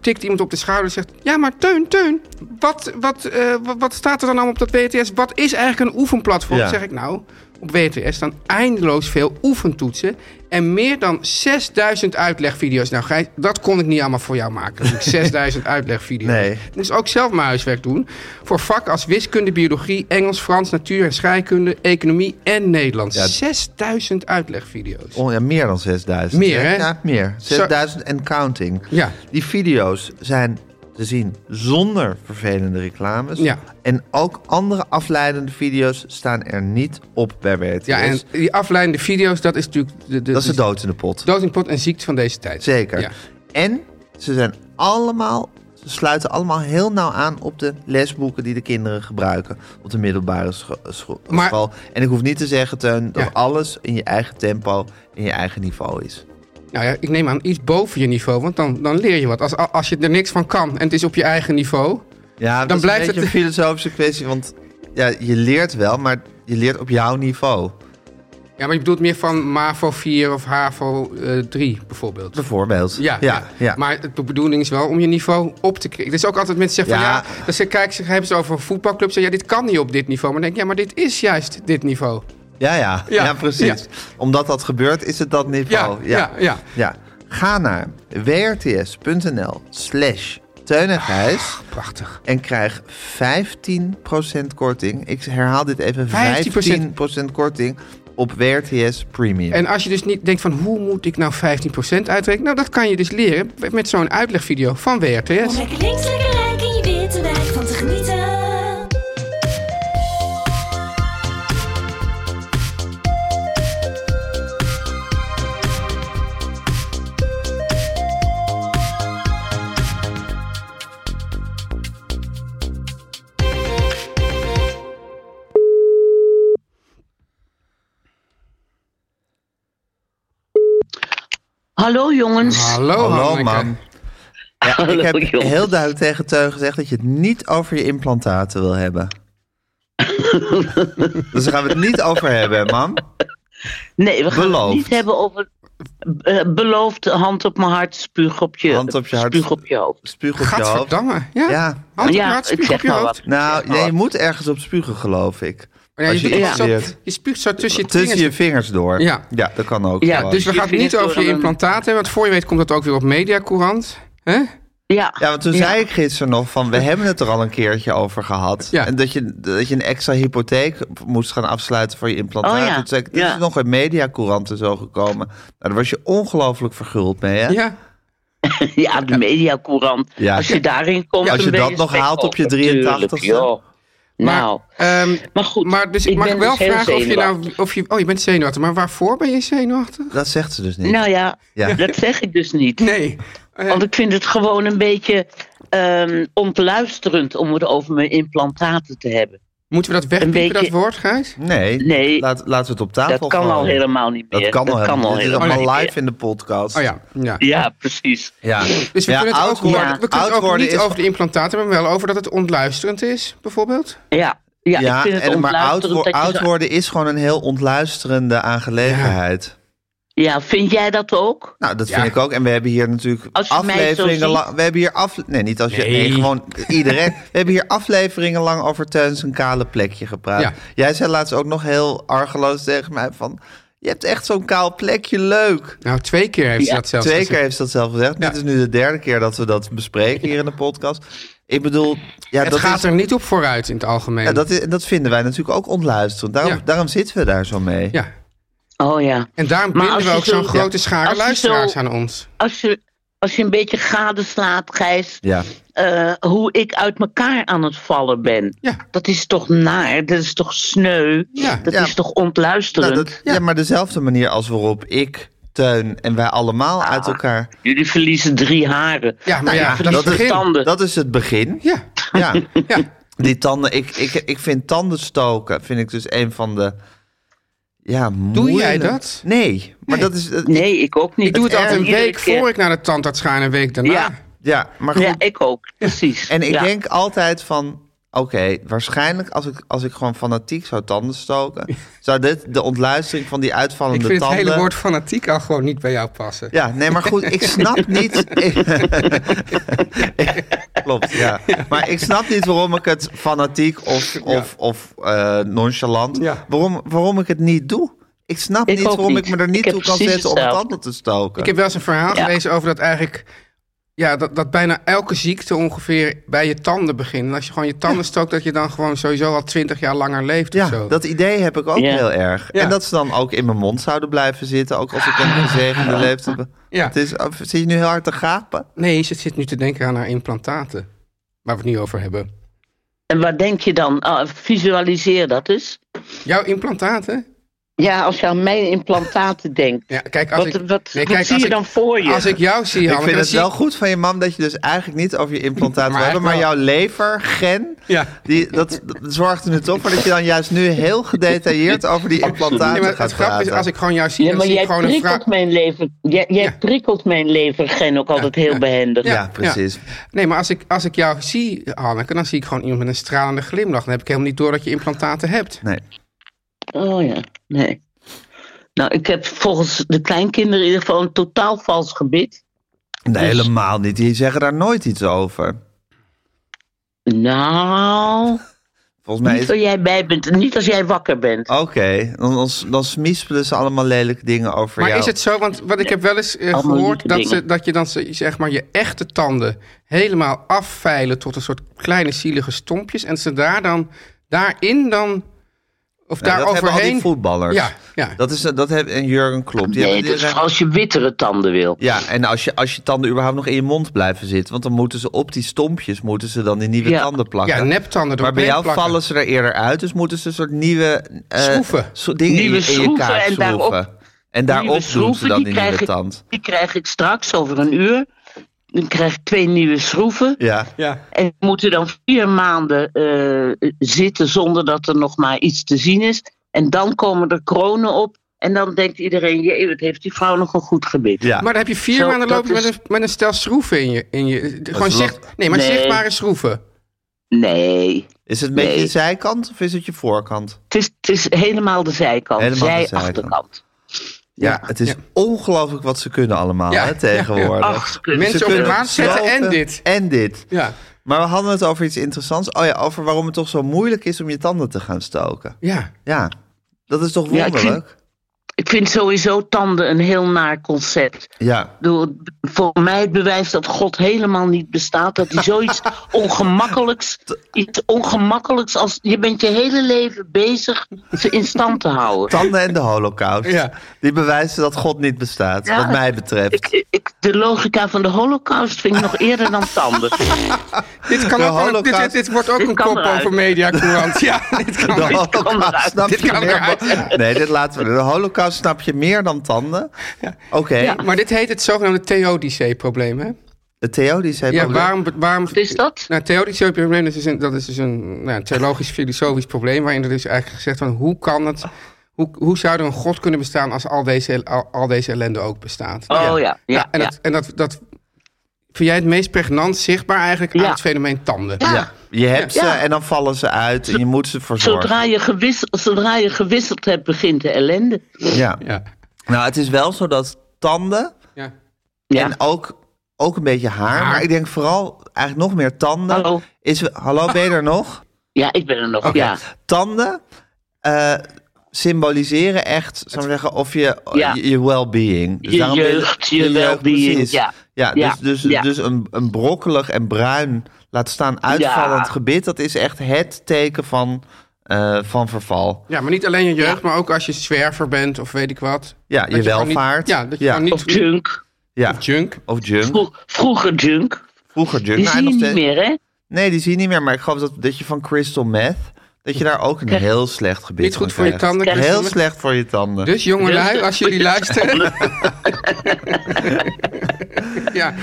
S3: tikt iemand op de schouder en zegt... Ja, maar Teun, Teun, wat, wat, eh, wat, wat staat er dan allemaal op dat WTS? Wat is eigenlijk een oefenplatform?
S2: Ja.
S3: zeg ik, nou, op WTS staan eindeloos veel oefentoetsen... en meer dan 6000 uitlegvideo's. Nou, Gijs, dat kon ik niet allemaal voor jou maken. natuurlijk. 6000 uitlegvideo's.
S2: Nee.
S3: Ik moest dus ook zelf mijn huiswerk doen. Voor vakken als wiskunde, biologie, Engels, Frans, natuur en scheikunde... economie en Nederlands.
S2: Ja,
S3: 6000 uitlegvideo's.
S2: Oh, ja, meer dan 6000.
S3: Meer, hè?
S2: Ja, meer. 6000 en counting.
S3: Ja.
S2: Die video's zijn te zien zonder vervelende reclames.
S3: Ja.
S2: En ook andere afleidende video's staan er niet op bij WRTS.
S3: Ja, en die afleidende video's, dat is natuurlijk de, de,
S2: Dat is de dood in de pot.
S3: dood in pot en ziekte van deze tijd.
S2: Zeker.
S3: Ja.
S2: En ze zijn allemaal... Ze sluiten allemaal heel nauw aan op de lesboeken die de kinderen gebruiken op de middelbare scho- scho-
S3: Maar-
S2: school. En ik hoef niet te zeggen, Teun, dat
S3: Ja.
S2: alles in je eigen tempo, in je eigen niveau is.
S3: Nou ja, ik neem aan iets boven je niveau, want dan, dan leer je wat. Als, als je er niks van kan en het is op je eigen niveau...
S2: Ja,
S3: Dan
S2: dan
S3: blijft
S2: blijft het
S3: het-
S2: een filosofische kwestie, want ja, je leert wel, maar je leert op jouw niveau.
S3: Ja, maar je bedoelt meer van MAVO 4 of HAVO eh, 3 bijvoorbeeld.
S2: Bijvoorbeeld.
S3: Ja, ja, maar de bedoeling is wel om je niveau op te krijgen. Het is ook altijd mensen zeggen
S2: Ja.
S3: van ja, dan ze, kijk, ze hebben ze over voetbalclubs. Ja, dit kan niet op dit niveau. Maar dan denk ik, ja, maar dit is juist dit niveau.
S2: ja, ja,
S3: Ja,
S2: ja, precies.
S3: ja.
S2: Omdat dat gebeurt, is het dat niveau.
S3: Ja, ja, ja.
S2: ja. Ga naar wrts.nl slash Teun en Gijs
S3: Ah, Prachtig.
S2: en krijg 15% korting. Ik herhaal dit even,
S3: 15%
S2: 15% korting op WRTS Premium.
S3: En als je dus niet denkt van hoe moet ik nou 15% uitrekenen? Nou, dat kan je dus leren met zo'n uitlegvideo van
S5: Om
S3: WRTS.
S5: lekker links, lekker rijk in je witte wijk van te genieten.
S6: Hallo jongens.
S3: Hallo,
S2: Hallo,
S3: Hanneke.
S2: man. Oh, nou, Ja, ik
S6: Hallo,
S2: heb
S6: jongens.
S2: heel duidelijk tegen Teun gezegd dat je het niet over je implantaten wil hebben. dus daar gaan we het niet over hebben, man.
S6: Nee, we gaan
S2: Beloofd.
S6: het niet hebben over eh, beloofd hand op mijn hart, spuug op je,
S2: Hand op je hart.
S6: spuug op je hoofd.
S2: Spuug op je hoofd.
S3: Gadverdamme. Ja. nou
S2: Ja.
S3: Hand op je
S6: Ja,
S3: hart,
S6: ik
S3: spuug
S6: zeg
S3: op je
S6: maar
S3: hoofd.
S6: wat.
S2: Nou,
S6: Zeg maar
S2: nee, je
S6: wat.
S2: moet ergens op spugen, geloof ik.
S3: Maar ja,
S2: Als je
S3: doet
S2: iets
S3: zo-
S2: leert.
S3: je spuugt zo tussen je
S2: Tussen je
S3: vingers.
S2: vingers door.
S3: Ja.
S2: ja dat kan ook.
S6: Ja,
S2: gewoon.
S3: Dus we
S6: Je
S3: gaan het
S6: vingers
S3: niet
S6: door
S3: over je
S6: dan een-
S3: implantaten hebben, want voor je weet komt dat ook weer op Mediacourant. hè?
S6: Ja,
S2: Ja, want toen zei ik gisteren nog van, we hebben het er al een keertje over gehad.
S3: Ja.
S2: En dat je, dat je een extra hypotheek moest gaan afsluiten voor je implantaat.
S6: Oh ja,
S2: Toen zei ik, dit
S6: ja.
S2: is nog in mediacouranten zo gekomen. Nou, daar was je ongelooflijk verguld mee, hè?
S3: Ja.
S6: ja de mediacourant.
S2: Ja.
S6: Als je daarin komt,
S2: Ja, als je
S6: dan ben
S2: dat nog
S6: spek
S2: haalt op je
S6: natuurlijk,
S2: 83ste.
S6: joh.
S3: Maar,
S6: Nou,
S3: ehm,
S6: maar goed.
S3: Maar dus ik, mag
S6: ben
S3: wel
S6: dus heel
S3: vragen of je nou...
S6: zenuwachtig.
S3: Of je, oh, je bent zenuwachtig. Maar waarvoor ben je zenuwachtig?
S2: Dat zegt ze dus niet.
S6: Nou ja,
S2: Ja.
S6: dat zeg ik dus niet.
S3: Nee. Eh,
S6: Want ik vind het gewoon een beetje ehm ontluisterend om het over mijn implantaten te hebben.
S3: moeten we dat wegpiepen,
S6: een beetje-
S3: dat woord, Gijs?
S2: Nee,
S6: Nee.
S2: Laat, laten we het op tafel
S6: Dat kan
S2: gooien.
S6: al helemaal niet meer.
S2: Dat kan al helemaal Dit is
S6: helemaal
S2: allemaal
S6: niet
S2: live in de podcast.
S3: Oh ja. ja.
S6: meer. Ja, precies.
S2: ja.
S3: Dus we
S2: Ja,
S3: kunnen het
S2: oud
S3: ook, worden-
S6: worden-
S3: we kunnen het
S2: oud
S3: ook
S2: worden
S3: niet
S2: is-
S3: over de implantaten hebben, maar wel over dat het ontluisterend is, bijvoorbeeld.
S6: Ja, ja,
S2: Ja,
S6: ik vind het
S2: en, maar oud,
S6: ontluisterend
S2: wo-
S6: dat je
S2: oud
S6: zo-
S2: worden is gewoon een heel ontluisterende aangelegenheid.
S6: Ja, vind jij dat ook?
S2: Nou, dat
S3: Ja.
S2: vind ik ook. En we hebben hier natuurlijk
S6: Als je mij zo
S2: afleveringen
S6: ziet.
S2: lang... We hebben hier af... Nee, niet als je... Nee,
S3: Nee.
S2: gewoon iedereen. We hebben hier afleveringen lang over Teun zijn kale plekje gepraat.
S3: Ja.
S2: Jij zei laatst ook nog heel argeloos tegen mij van... Je hebt echt zo'n kaal plekje, leuk.
S3: Nou, twee keer heeft ze
S6: Ja,
S3: dat zelfs
S2: Twee keer
S3: gezegd.
S2: heeft ze dat zelf gezegd.
S3: Ja.
S2: Dit is nu de derde keer dat we dat bespreken hier in de podcast. Ik bedoel, ja,
S3: Het
S2: dat,
S3: gaat
S2: is,
S3: er niet op vooruit in het algemeen.
S2: ja, dat, is- dat vinden wij natuurlijk ook ontluisterend. Daarom,
S3: Ja.
S2: daarom zitten we daar zo mee.
S3: Ja.
S6: Oh ja.
S3: En daarom
S6: Maar
S3: binden
S6: als
S3: we
S6: je
S3: ook zo'n
S6: zo-
S3: grote schare
S6: als je
S3: luisteraars
S6: zo-
S3: aan ons.
S6: Als je, als je een beetje gadeslaat, Gijs,
S2: Ja.
S6: eh, hoe ik uit elkaar aan het vallen ben.
S3: Ja.
S6: Dat is toch naar, dat is toch sneu,
S3: Ja,
S6: dat
S2: ja.
S6: is toch
S2: Nou,
S6: ontluisterend.
S2: dat- ja, maar dezelfde manier als waarop ik, Teun en wij allemaal uit
S6: Ah.
S2: elkaar...
S6: Jullie verliezen drie haren.
S3: Ja, maar ja,
S6: je
S3: dat is
S6: verliest
S3: het begin.
S6: tanden.
S2: Dat is het begin.
S3: Ja.
S2: Ja.
S3: Ja.
S2: Die tanden, ik, ik, ik vind tanden stoken, vind ik dus een van de... Ja,
S3: Doe jij
S2: moeilijk-
S3: dat?
S2: Nee, maar
S3: Nee.
S2: dat is... dat-
S6: Nee, ik ook niet.
S3: Ik doe het altijd een
S6: Iedere
S3: week
S6: keer.
S3: voor ik naar de tandarts ga en een week daarna.
S6: Ja.
S2: Ja, maar goed.
S6: Ja, ik ook, precies.
S2: En ik
S6: Ja.
S2: denk altijd van... Oké, waarschijnlijk als ik, als ik gewoon fanatiek zou tanden stoken... zou dit de ontluistering van die uitvallende
S3: Ik vind het
S2: tanden...
S3: hele woord fanatiek al gewoon niet bij jou passen.
S2: Ja, nee, maar goed, ik snap niet... Klopt, ja. Maar ik snap niet waarom ik het fanatiek of, of, of eh, nonchalant...
S3: Ja.
S2: Waarom, waarom ik het niet doe. Ik snap
S6: Ik
S2: niet
S6: ook
S2: waarom
S6: niet.
S2: ik me er niet
S6: Ik heb
S2: toe kan
S6: precies
S2: zetten om
S6: hetzelfde.
S2: tanden te stoken.
S3: Ik heb wel eens een verhaal
S6: Ja.
S3: gelezen over dat eigenlijk... Ja, dat, dat bijna elke ziekte ongeveer bij je tanden begint. En als je gewoon je tanden stookt, dat je dan gewoon sowieso al twintig jaar langer leeft of
S2: Ja,
S3: zo.
S2: dat idee heb ik ook
S6: Ja.
S2: heel erg.
S3: Ja.
S2: En dat ze dan ook in mijn mond zouden blijven zitten, ook als ik een gezegende leeftijd heb.
S3: Ja.
S2: Het is, of- zit je nu heel hard te gapen?
S3: Nee, ze zit nu te denken aan haar implantaten. Waar we het nu over hebben.
S6: En waar denk je dan? Ah, visualiseer dat eens.
S3: Jouw implantaten?
S6: Ja, als je aan mijn implantaten denkt.
S3: Ja, kijk, als
S6: wat
S3: ik,
S6: wat,
S3: nee,
S6: wat
S3: kijk,
S6: zie
S3: als
S6: je
S3: ik-
S6: dan voor je?
S3: Als ik jou zie,
S2: Ik
S3: Hanneke,
S2: vind
S3: dan
S2: het
S3: zie
S2: wel goed van je mam dat je dus eigenlijk niet over je implantaat wil
S3: Maar
S2: hebben, maar
S3: eigenlijk
S2: jouw lever, gen,
S3: Ja.
S2: die, dat, dat zorgt er nu toch voor dat je dan juist nu heel gedetailleerd over die
S3: Nee,
S2: implantaten
S3: maar
S2: gaat
S3: het grappige is,
S2: praten.
S3: als ik gewoon jou zie,
S6: ja,
S3: dan
S6: maar
S3: zie ik
S6: jij
S3: gewoon een
S6: prikkelt
S3: vraag.
S6: mijn lever. Jij, jij
S3: Ja.
S6: prikkelt mijn levergen ook altijd heel behendig.
S2: Ja, precies.
S3: Nee, maar als ik, als ik jou zie, Hanneke, dan zie ik gewoon iemand met een stralende glimlach. Dan heb ik helemaal niet door dat je implantaten hebt.
S2: Nee.
S6: Oh ja, nee. Nou, ik heb volgens de kleinkinderen in ieder geval een totaal vals gebit.
S3: Dus-
S2: nee, helemaal niet. Die zeggen daar nooit iets over.
S6: Nou,
S2: Volgens mij
S6: niet,
S2: is Oh,
S6: als jij bij bent, niet als jij wakker bent.
S2: Oké, dan, dan, dan smispelen ze allemaal lelijke dingen over
S3: Maar
S2: jou.
S3: is het zo? Want wat ik heb wel eens eh,
S6: Allemaal
S3: gehoord
S6: lieve
S3: dat, ze,
S6: dingen.
S3: dat je dan ze- zeg maar je echte tanden helemaal afveilen tot een soort kleine zielige stompjes. En ze daar dan daarin dan. Of
S2: Nou,
S3: daar
S2: dat hebben al die
S3: overheen.
S2: voetballers.
S3: Ja, ja.
S2: Dat is dat heb en Jurgen klopt. Die
S6: Nee,
S2: hebben-
S6: dat
S2: die
S6: is
S2: zijn-
S6: als je wittere tanden wil.
S2: ja, en als je, als je tanden überhaupt nog in je mond blijven zitten, want dan moeten ze op die stompjes moeten ze dan die nieuwe
S6: Ja.
S2: tanden plakken.
S3: Ja, neptanden
S2: Maar bij
S3: doorheen
S2: jou
S3: plakken.
S2: vallen ze er eerder uit, dus moeten ze een soort nieuwe eh,
S3: Schroeven.
S2: so- dingen
S6: Nieuwe
S2: in, je- in je
S6: schroeven
S2: kaak
S6: en daarop-
S2: schroeven. En daarop
S6: Nieuwe
S2: doen ze
S6: schroeven,
S2: dan
S6: die
S2: die
S6: krijg
S2: nieuwe
S6: ik-
S2: tand.
S6: Die krijg ik straks over een uur. Dan krijg ik twee nieuwe schroeven.
S2: Ja.
S3: Ja.
S6: En die moeten dan vier maanden eh, zitten zonder dat er nog maar iets te zien is. En dan komen er kronen op. En dan denkt iedereen, jee, wat heeft die vrouw nog een goed gebit.
S2: Ja.
S3: Maar dan heb je vier
S6: Zo,
S3: maanden
S6: dat
S3: lopen met,
S6: is-
S3: een, met een stel schroeven in je. In je gewoon
S2: is
S3: zicht,
S2: lastig.
S3: nee, maar
S6: Nee.
S3: zichtbare schroeven.
S6: Nee,
S2: Is het een beetje
S6: Nee.
S2: je zijkant of is het je voorkant?
S6: het is, het is helemaal de zijkant.
S2: Helemaal de
S6: zij
S2: zijkant.
S6: achterkant.
S2: Ja, het is
S3: ja.
S2: ongelooflijk wat ze kunnen allemaal
S3: Ja,
S2: hè,
S3: ja,
S2: tegenwoordig.
S6: ja. Ach, ze kunnen-
S2: Ze
S3: Mensen op de
S2: kunnen
S3: maan zetten en
S2: slopen
S3: dit.
S2: En dit.
S3: Ja.
S2: Maar we hadden het over iets interessants. Oh ja, over waarom het toch zo moeilijk is om je tanden te gaan stoken.
S3: Ja.
S2: Ja, dat is toch
S6: Ja, ik
S2: wonderlijk?
S6: vind- Ik vind sowieso tanden een heel naar concept.
S2: Ja.
S6: Ik bedoel, Voor mij het bewijs dat God helemaal niet bestaat. Dat hij zoiets ongemakkelijks, iets ongemakkelijks als je bent je hele leven bezig ze in stand te houden.
S2: Tanden en de holocaust.
S3: Ja.
S2: Die bewijzen dat God niet bestaat,
S6: Ja.
S2: wat mij betreft.
S6: Ik, ik, de logica van de holocaust vind ik nog eerder dan tanden.
S3: Dit, kan
S2: De
S3: ook wel- dit, dit,
S2: holocaust-
S3: dit wordt ook
S6: Dit
S3: een
S6: kan
S3: kop
S6: eruit.
S3: over mediacourant. Ja, dit kan
S2: De
S3: ook.
S2: holocaust
S6: eruit.
S2: snap
S3: Dit
S2: je
S3: kan
S2: meer
S3: eruit.
S2: Nee, dit laten we. De holocaust snap je meer dan tanden. Oké,
S3: Maar dit heet het zogenaamde theodicee-probleem, hè?
S2: de theodice heeft
S3: Ja,
S2: ook-
S3: waarom... waarom
S6: Wat is Dus dat?
S3: Nou, theodicee probleem dat is, een, dat is dus een nou, een theologisch-filosofisch probleem... waarin er dus eigenlijk gezegd van hoe kan het... Hoe, hoe zou er een god kunnen bestaan als al deze, al, al deze ellende ook bestaat?
S6: Oh ja, ja,
S3: en
S6: ja.
S3: dat, en dat, dat vind jij het meest pregnant zichtbaar eigenlijk aan
S6: Ja.
S3: het fenomeen tanden.
S6: Ja.
S2: Ja, je hebt ze
S6: Ja.
S2: en dan vallen ze uit en je moet ze verzorgen.
S6: Zodra je, gewisseld, zodra je gewisseld hebt, begint de ellende.
S2: Ja.
S3: Ja.
S2: Nou, het is wel zo dat tanden
S3: Ja.
S6: Ja.
S2: En ook, ook een beetje haar. Maar ik denk vooral eigenlijk nog meer tanden.
S6: Hallo.
S2: Is, hallo, ben je er nog?
S6: ja, ik ben er nog. Ja.
S2: Tanden eh, symboliseren echt, zou ik zeggen, of je,
S6: Ja.
S2: je, je well-being. Dus
S6: Je
S2: daarom wil
S6: jeugd, je well-being,
S2: precies.
S6: ja.
S2: Ja,
S6: Ja,
S2: dus, dus,
S6: ja.
S2: dus een, een brokkelig en bruin, laat staan uitvallend
S6: Ja.
S2: gebit, dat is echt het teken van, eh, van verval.
S3: Ja, maar niet alleen je jeugd, maar ook als je zwerver bent of weet ik wat.
S2: Ja,
S3: Dat
S2: je
S3: gewoon
S2: welvaart.
S3: niet- ja, dat je
S2: Ja.
S3: gewoon
S6: Of
S3: niet...
S6: junk.
S2: Ja.
S3: Of junk.
S2: Of junk.
S6: Vro- vroeger junk.
S2: Vroeger junk.
S6: Die
S2: Nou, en
S6: zie je
S2: nog
S6: niet
S2: steeds-
S6: meer, hè?
S2: Nee, die zie je niet meer. Maar ik geloof dat, dat je van crystal meth... dat je daar ook een
S6: Krijg-
S2: heel slecht gebit
S3: Niet
S2: van
S3: goed voor je
S2: krijgt.
S3: tanden.
S6: Krijg-
S2: Heel
S3: Christine.
S2: slecht voor je tanden.
S3: Dus jongelui, als jullie luisteren. ja.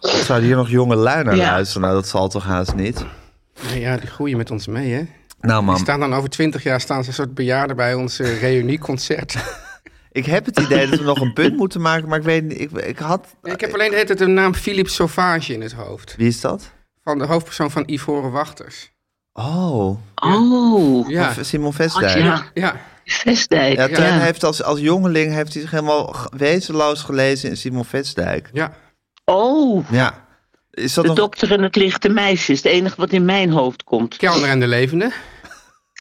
S2: Zouden hier nog jonge lui naar
S6: Ja.
S2: luisteren? Nou, dat zal toch haast niet?
S3: Nou ja, die groeien met ons mee, hè?
S2: Nou,
S3: Die
S2: man.
S3: staan dan over twintig jaar staan ze een soort bejaarden bij ons eh, reunieconcert.
S2: Ik heb het idee dat we nog een punt moeten maken, maar ik weet niet. Ik, ik had.
S3: ik heb alleen de hele tijd de naam Philippe Sauvage in het hoofd.
S2: Wie is dat?
S3: Van de hoofdpersoon van Ivoren Wachters.
S2: Oh,
S6: Oh,
S3: Ja,
S2: Simon
S6: God,
S2: Vestdijk.
S6: ja.
S3: ja.
S6: Vestdijk.
S2: Ja,
S6: Ja,
S2: Teun heeft als, als jongeling heeft hij zich helemaal ge- wezenloos gelezen in Simon Vestdijk.
S3: ja.
S6: Oh,
S2: Ja. Is dat
S6: de
S2: nog...
S6: dokter en het lichte meisje is het enige wat in mijn hoofd komt.
S3: Kelner en de Levende.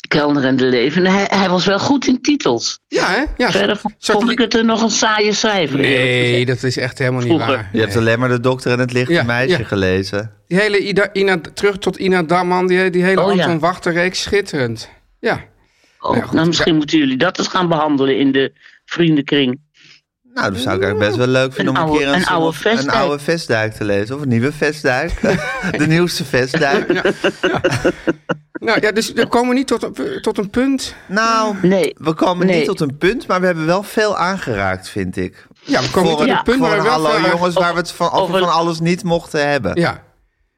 S6: Kelner en de leven. Hij, hij was wel goed in titels.
S3: Ja, hè? Ja,
S6: Verder
S3: soort- soort
S6: vond ik
S3: li-
S6: het er nog een saaie cijfer. eerlijk
S3: Nee,
S6: gezegd.
S3: dat is echt helemaal niet
S6: Vroeger.
S3: waar.
S2: Je hebt
S3: Nee.
S2: alleen maar de dokter en het lichte
S3: Ja,
S2: meisje
S3: ja.
S2: gelezen.
S3: Die hele Ida, Ina, terug tot Ina Damman, die, die hele
S6: Oh, ja.
S3: Anton Wachter-reeks, schitterend. Ja.
S6: Oh,
S3: Ja, goed.
S6: nou, misschien moeten jullie dat eens gaan behandelen in de vriendenkring.
S2: Nou, dat zou ik eigenlijk best wel leuk vinden
S6: Een
S2: om een keer
S6: oude- een
S2: Simon-
S6: oude
S2: een
S6: Vestdijk.
S2: oude Vestdijk te lezen. Of een nieuwe Vestdijk. de nieuwste Vestdijk.
S3: Nou ja, dus we komen niet tot, een- tot een punt.
S2: Nou,
S6: Nee.
S2: we komen
S6: Nee.
S2: niet tot een punt, maar we hebben wel veel aangeraakt, vind ik.
S3: Ja, we komen niet tot
S2: een-
S3: een punt,
S2: voor
S3: maar
S2: een
S3: wel
S2: hallo
S3: verder.
S2: jongens waar we het van, over
S6: over-
S2: van alles niet mochten hebben.
S3: Ja,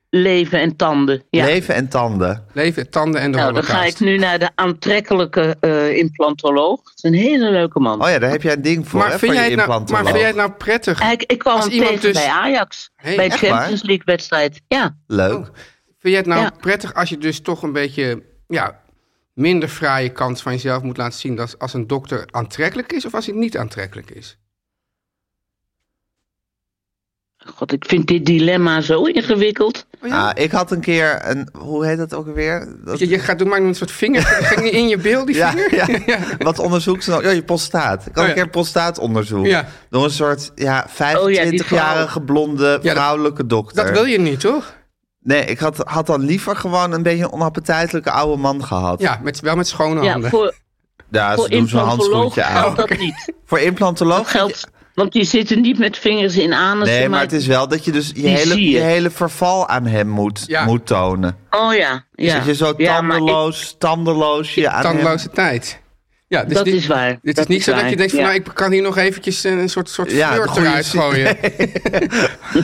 S6: Leven en tanden. Ja.
S2: Leven en tanden.
S3: leven, tanden en de
S6: nou, dan
S3: holocaust.
S6: ga ik nu naar de aantrekkelijke eh, implantoloog. Het is een hele leuke man.
S2: Oh ja, daar heb jij een ding voor, hè,
S3: Maar vind,
S2: voor
S3: jij
S2: je
S3: het nou, maar
S2: implantoloog.
S3: vind jij het nou prettig?
S6: ik, ik kwam
S3: Als
S6: hem
S3: iemand
S6: tegen
S3: dus-
S6: bij Ajax.
S3: Hey,
S6: bij de
S2: echt waar?
S6: Champions League wedstrijd. Ja.
S3: nou-
S2: Leuk.
S3: Vind jij het nou
S6: Ja.
S3: prettig als je dus toch een beetje ja, minder fraaie kant van jezelf moet laten zien... Dat als een dokter aantrekkelijk is of als hij niet aantrekkelijk is?
S6: God, ik vind dit dilemma zo ingewikkeld.
S3: Oh ja?
S2: Ah, ik had een keer een, hoe heet dat ook alweer? Dat,
S3: je, je gaat doen maar een soort vinger. Ging niet in je bil, die
S2: ja,
S3: vinger?
S2: ja, wat onderzoek ze dan? Ja, je prostaat. Ik had
S3: Oh ja.
S2: een keer prostaatonderzoek.
S3: Ja.
S2: Door een soort ja, 25-jarige blonde
S3: Ja, dat-
S2: vrouwelijke dokter.
S3: Dat wil je niet, toch?
S2: Nee, ik had, had dan liever gewoon een beetje een onappetitelijke oude man gehad.
S3: Ja, met, wel met schone
S6: Ja,
S3: handen.
S6: voor,
S2: Oh, Ja, ze
S6: voor
S2: doen zo'n
S6: implantoloog
S2: handschoentje aan.
S6: geldt dat niet.
S2: Voor
S6: Dat
S2: implantoloog?
S6: geldt, want die zitten niet met vingers in anussen.
S2: Nee, maar het is wel dat je dus je
S6: Die
S2: hele,
S6: zie
S2: je
S6: je.
S2: hele verval aan hem moet,
S3: Ja.
S2: moet tonen. Dus
S6: Oh ja. ja.
S2: Dat je zo
S6: Ja, maar ik-
S2: tandeloos, tandeloos je aan hem...
S3: Tandeloze tijd. Ja, dus
S6: dat
S3: dit,
S6: is waar.
S3: Dit
S6: Dat
S3: is niet zo dat
S6: waar.
S3: je denkt van
S6: Ja.
S3: nou, ik kan hier nog eventjes eh, een soort, soort
S2: Ja,
S3: flirt
S2: de goede
S3: eruit
S2: zin.
S3: gooien.
S2: Als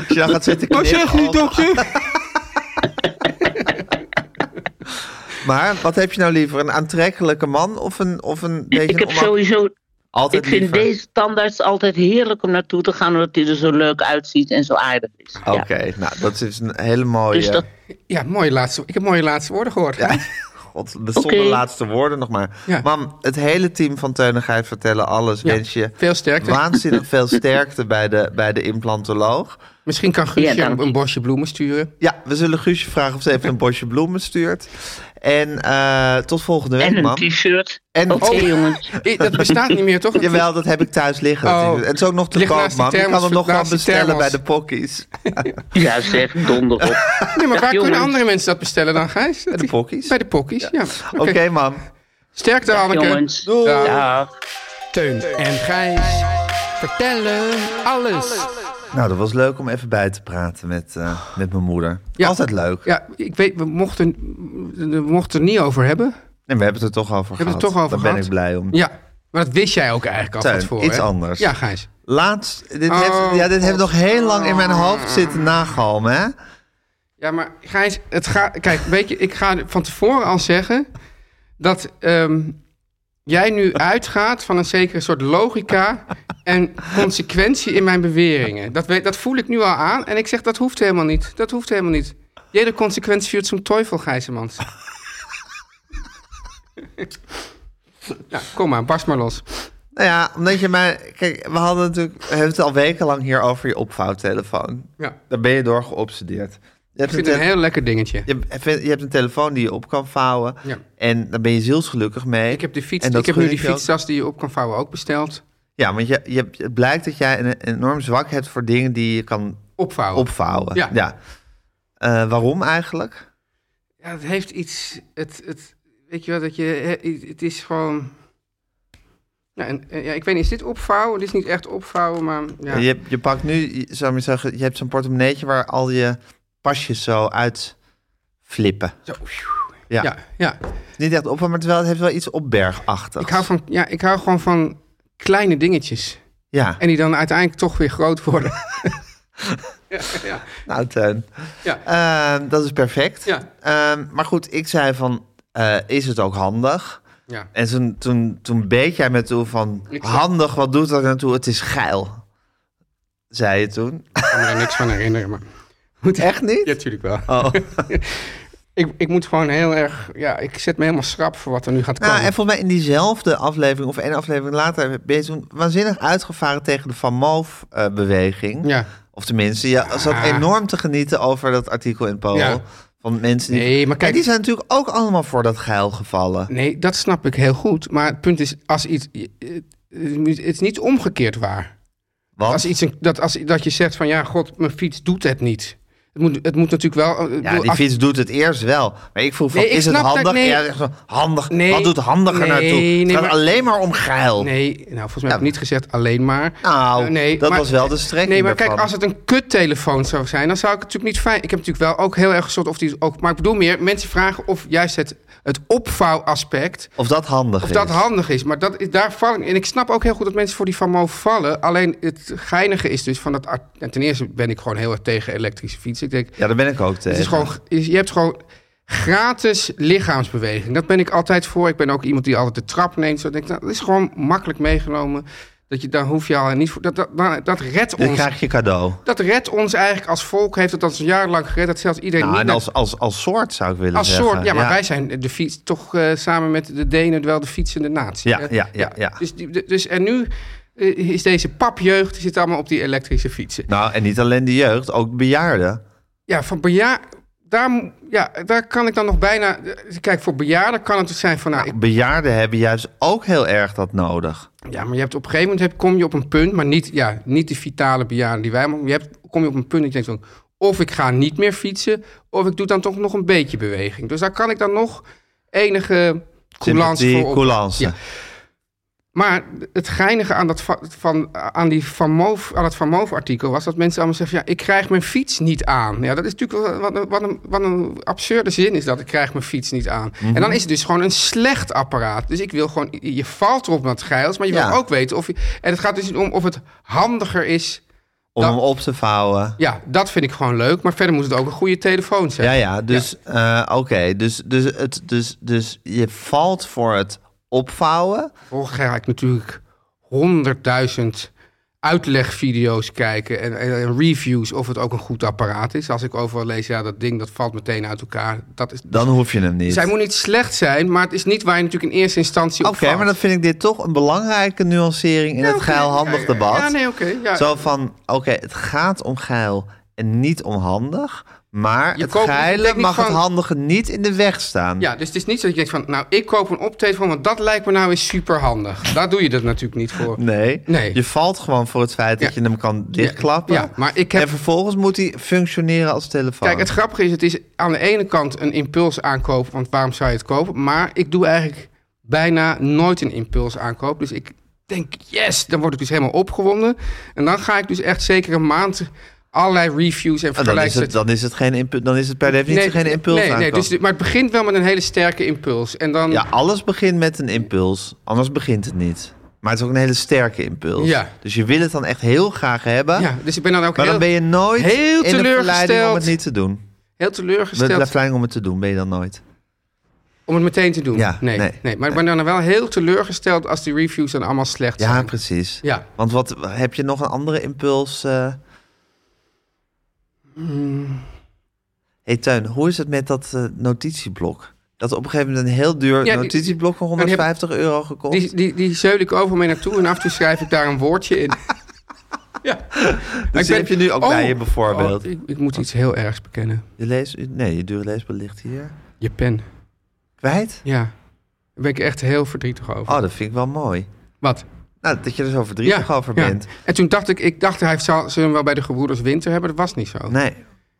S2: je dan gaat zitten
S3: Wat
S2: knippen,
S3: zeg je,
S2: oh.
S3: dokter?
S2: Maar wat heb je nou liever? Een aantrekkelijke man of een, of een beetje...
S6: Ik heb
S2: een onak-
S6: sowieso
S2: Altijd
S6: Ik vind
S2: liever.
S6: deze tandarts altijd heerlijk om naartoe te gaan, omdat hij er zo leuk uitziet en zo aardig is. Ja.
S2: Oké, nou, dat is een hele mooie...
S6: Dus dat-
S3: Ja, mooie laatste, ik heb mooie laatste woorden gehoord. Ja.
S2: God, de zonder
S6: Oké.
S2: laatste woorden nog maar.
S3: Ja.
S2: Mam, het hele team van Teunigheid vertellen alles. Wens je
S3: Veel sterkte.
S2: waanzinnig veel sterkte bij de, bij de implantoloog.
S3: Misschien kan
S6: Ja,
S3: Guusje
S6: dank
S3: een,
S6: je.
S3: een bosje bloemen sturen.
S2: Ja, we zullen Guusje vragen of ze even een bosje bloemen stuurt. En eh, tot volgende week,
S6: en een
S2: mam.
S6: t-shirt.
S2: En-
S6: Oké,
S2: Oh.
S6: jongens.
S3: Eh, Dat bestaat niet meer, toch?
S2: Jawel, dat heb ik thuis liggen.
S3: Oh.
S2: En het is ook nog te
S3: Ligt
S2: koop,
S3: naast die
S2: mam. Je kan
S3: thermos,
S2: hem nog wel
S3: naast die
S2: bestellen bij
S3: thermos.
S2: de pokkies.
S6: Ja, zeg, donder op.
S3: Nee, maar waar kunnen
S6: jongens.
S3: andere mensen dat bestellen dan, Gijs? Bij
S2: de pokkies.
S3: Bij de pokkies, ja. Oké.
S2: Oké, mam.
S3: Sterkte, Hanneke.
S6: jongens.
S3: Doei.
S6: Dag.
S3: Teun en Gijs vertellen alles.
S2: Nou, dat was leuk om even bij te praten met, eh, met mijn moeder.
S3: Ja.
S2: Altijd leuk.
S3: Ja, ik weet, we mochten, we mochten het niet over hebben.
S2: En we hebben het er toch over
S3: hebben
S2: gehad.
S3: het toch over
S2: Daar ben
S3: gehad.
S2: ik blij om.
S3: Ja, maar dat wist jij ook eigenlijk al
S2: Teun,
S3: van tevoren,
S2: iets
S3: hè?
S2: anders.
S3: Ja, Gijs.
S2: Laatst, dit,
S3: Oh,
S2: heeft, ja, dit heeft
S3: God.
S2: nog heel lang in mijn hoofd zitten nagalmen, hè?
S3: Ja, maar Gijs, het gaat. Kijk, weet je, ik ga van tevoren al zeggen dat ehm, jij nu uitgaat van een zekere soort logica en consequentie in mijn beweringen. Dat, weet, dat voel ik nu al aan en ik zeg dat hoeft helemaal niet. Dat hoeft helemaal niet. Jede consequentie vuurt zo'n teufel, Gijsemans. nou, kom maar, barst maar los.
S2: Nou ja, omdat je mij... Kijk, we hadden natuurlijk... We hebben het al wekenlang hier over je opvouwtelefoon.
S3: Ja.
S2: Daar ben je door geobsedeerd. Je hebt,
S3: Ik vind
S2: een
S3: het een
S2: tele-
S3: heel lekker dingetje.
S2: je, hebt- je hebt een telefoon die je op kan vouwen.
S3: Ja.
S2: En daar ben je zielsgelukkig mee.
S3: Ik heb, de fiets,
S2: En dat
S3: ik heb nu
S2: gun
S3: die
S2: je ook.
S3: fietstas die je op kan vouwen ook besteld.
S2: Ja, want je, je, hebt- het blijkt dat jij een, een enorm zwak hebt voor dingen die je kan
S3: Opvouwen.
S2: opvouwen.
S3: Oh. Ja.
S2: Eh, waarom eigenlijk?
S3: Ja, het heeft iets. Het, het, weet je wel, dat je. Het is gewoon. Ja, en, eh, ja, ik weet niet, is dit opvouwen? Dit is niet echt opvouwen, maar ja.
S2: En Je, je pakt nu, je- zou ik maar zeggen, je hebt zo'n portemonneetje waar al je pasjes zo uit flippen.
S3: Zo,
S2: Ja.
S3: ja, ja.
S2: Niet echt op, maar terwijl het heeft wel iets opbergachtigs.
S3: Ik, hou van, ja, ik hou gewoon van kleine dingetjes.
S2: Ja,
S3: En die dan uiteindelijk toch weer groot worden. ja, ja,
S2: nou Teun.
S3: ja.
S2: Ehm, dat is perfect.
S3: Ja.
S2: Ehm, maar goed, ik zei van, eh, is het ook handig?
S3: ja.
S2: En toen, toen, toen beet jij me toe van,
S3: Ik zei-
S2: handig, wat doet dat naartoe? Het is geil, zei je toen.
S3: Ik kan me daar niks van herinneren, maar...
S2: Echt niet?
S3: Ja, tuurlijk wel.
S2: Oh.
S3: Ik, ik moet gewoon heel erg... Ja, ik zet me helemaal schrap voor wat er nu gaat komen.
S2: Nou, en volgens mij in diezelfde aflevering of één aflevering later ben je toen waanzinnig uitgevaren tegen de Van Moof-beweging.
S3: Ja.
S2: Of tenminste, je zat
S3: Ah.
S2: enorm te genieten over dat artikel in Polen.
S3: Ja.
S2: Van mensen die...
S3: Nee, maar kijk-
S2: die zijn natuurlijk ook allemaal voor dat geil gevallen.
S3: Nee, dat snap ik heel goed. Maar het punt is, als iets... eh, eh, Het is niet omgekeerd waar.
S2: Want,
S3: Als iets, een- dat, als, dat je zegt van, ja, god, mijn fiets doet het niet. Het moet, het moet natuurlijk wel... eh,
S2: ja,
S3: ik bedoel,
S2: die
S3: als-
S2: fiets doet het eerst wel. Maar ik vroeg van,
S3: Nee, ik
S2: is het
S3: snap dat-
S2: handig?
S3: nee.
S2: En jij zegt van, handig.
S3: Nee.
S2: Wat doet handiger
S3: Nee,
S2: naartoe?
S3: nee,
S2: het gaat
S3: maar-
S2: alleen maar om geil.
S3: Nee, nou, volgens mij heb ik niet gezegd alleen maar.
S2: Nou,
S3: Eh,
S2: dat was wel de strekking
S3: Nee, maar
S2: daarvan.
S3: kijk, als het een kuttelefoon zou zijn, dan zou ik het natuurlijk niet fijn... Ik heb natuurlijk wel ook heel erg gezocht of die ook... Maar ik bedoel meer, mensen vragen of juist het, het opvouwaspect...
S2: Of dat handig
S3: Of
S2: is.
S3: dat handig is, maar dat, is- daar val ik. En ik snap ook heel goed dat mensen voor die Van Moof vallen. Alleen het geinige is dus van dat. art- en Ten eerste ben ik gewoon heel erg tegen elektrische fietsen. Ik denk,
S2: Ja, daar ben ik ook tegen.
S3: het is gewoon, is- je hebt gewoon gratis lichaamsbeweging. Dat ben ik altijd voor. Ik ben ook iemand die altijd de trap neemt. Zo denk ik, nou, dat is gewoon makkelijk meegenomen. Dat je, daar hoef je al niet voor. Dat, dat, dat, dat redt
S2: Dit
S3: ons.
S2: krijg je cadeau.
S3: Dat redt ons eigenlijk als volk. Heeft het ons jarenlang gered. Dat zelfs iedereen
S2: Nou,
S3: niet
S2: en
S3: naar-
S2: als, als, als soort zou ik willen
S3: als
S2: zeggen.
S3: soort, ja, maar wij zijn de fiets toch eh, samen met de Denen wel de fietsende natie.
S2: Ja,
S3: Eh,
S2: ja, ja, ja.
S3: Dus, die- de- dus en nu eh, is deze papjeugd die zit allemaal op die elektrische fietsen.
S2: Nou, en niet alleen de jeugd, ook bejaarden.
S3: Ja, van bejaarden, daar, mo- ja, daar kan ik dan nog bijna. Kijk, voor bejaarden kan het dus zijn van, nou, ik-
S2: Bejaarden hebben juist ook heel erg dat nodig.
S3: ja, maar je hebt op een gegeven moment heb, kom je op een punt, maar niet, ja, niet de vitale bejaarden die wij, maar je hebt, kom je op een punt dat je denkt van, of ik ga niet meer fietsen, of ik doe dan toch nog een beetje beweging. Dus daar kan ik dan nog enige coulance
S2: Sympathie,
S3: voor op.
S2: coulance.
S3: Ja. Maar het geinige aan, dat va- van, aan, die van Moof, aan het Van Moof-artikel was dat mensen allemaal zeggen... Ja, ik krijg mijn fiets niet aan. Ja, dat is natuurlijk wel- wat, een- wat, een, wat een absurde zin is dat ik krijg mijn fiets niet aan. En dan is het dus gewoon een slecht apparaat. Dus ik wil gewoon... Je valt erop met geils, maar je
S2: Ja.
S3: wil ook weten of... Je, en het gaat dus niet om of het handiger is.
S2: Om
S3: Dat-
S2: hem op te vouwen.
S3: Ja, dat vind ik gewoon leuk. Maar verder moet het ook een goede telefoon zijn.
S2: Ja, ja, dus eh, oké. Dus, dus, het- dus, dus je valt voor het opvouwen.
S3: Vorig jaar ga ik natuurlijk honderdduizend uitlegvideo's kijken en, en, en reviews of het ook een goed apparaat is. Als ik overal lees, ja, dat ding dat valt meteen uit elkaar. Dat is,
S2: Dan hoef je hem niet.
S3: Zij moet niet slecht zijn, maar het is niet waar je natuurlijk in eerste instantie
S2: Oké,
S3: op valt.
S2: maar dan vind ik dit toch een belangrijke nuancering in
S3: Ja,
S2: het
S3: oké,
S2: geilhandig
S3: ja, ja,
S2: debat.
S3: Ja, nee, oké. ja.
S2: Zo van, oké, het gaat om geil en niet om handig. Maar
S3: Je
S2: het
S3: koopt- het
S2: geile
S3: betekent
S2: mag
S3: gewoon-
S2: het handige niet in de weg staan.
S3: Ja, dus het is niet zo dat je denkt van, nou, ik koop een optelefoon, want dat lijkt me nou eens superhandig. Daar doe je dat natuurlijk niet voor.
S2: Nee.
S3: Nee.
S2: Je valt gewoon voor het feit dat
S3: Ja.
S2: je hem kan dichtklappen.
S3: Ja, ja, maar ik heb-
S2: En vervolgens moet hij functioneren als telefoon. Ah,
S3: Kijk, het grappige is, het is aan de ene kant een impuls aankoop, want waarom zou je het kopen? Maar ik doe eigenlijk bijna nooit een impuls aankoop. Dus ik denk, yes, dan word ik dus helemaal opgewonden. En dan ga ik dus echt zeker een maand allerlei reviews en
S2: En Ah, dan, is
S3: vergelijkingen.
S2: het, dan, is het geen impu- dan is het per definitie geen impuls
S3: nee, nee,
S2: aankoop.
S3: dus, Maar het begint wel met een hele sterke impuls. En dan,
S2: Ja, alles begint met een impuls. Anders begint het niet. Maar het is ook een hele sterke impuls.
S3: Ja.
S2: Dus je wil het dan echt heel graag hebben.
S3: Ja, dus ik ben dan ook
S2: Maar
S3: heel,
S2: dan ben je nooit
S3: heel
S2: in de verleiding om
S3: teleurgesteld.
S2: het niet te doen.
S3: heel
S2: De, de
S3: teleurgesteld.
S2: verleiding om het te doen ben je dan nooit.
S3: Om het meteen te doen.
S2: Ja,
S3: nee,
S2: nee,
S3: nee, Maar ik ben dan wel heel teleurgesteld als die reviews dan allemaal slecht
S2: Ja,
S3: zijn.
S2: precies.
S3: Ja.
S2: Want wat, heb je nog een andere impuls? eh?
S3: Hmm.
S2: hey, Tuin, hoe is het met dat eh, notitieblok? Dat op een gegeven moment een heel duur
S3: Ja, die-
S2: notitieblok van
S3: dan heb-
S2: 150 euro gekost.
S3: Die, die, die zeul ik over mee naartoe en af en toe schrijf ik daar een woordje in. ja.
S2: dus die heb je nu ook
S3: Oh,
S2: bij je bijvoorbeeld.
S3: oh, ik, ik moet iets heel ergs bekennen.
S2: Je lees, nee, je dure leesbril ligt hier.
S3: Je pen.
S2: Kwijt?
S3: Ja. Daar ben ik echt heel verdrietig over.
S2: Oh, dat vind ik wel mooi.
S3: Wat?
S2: Nou, dat je er zo verdrietig over
S3: ja.
S2: bent.
S3: En toen dacht ik, ik dacht, hij zal, zullen hem wel bij de gebroeders Winter hebben. Dat was niet zo.
S2: Nee,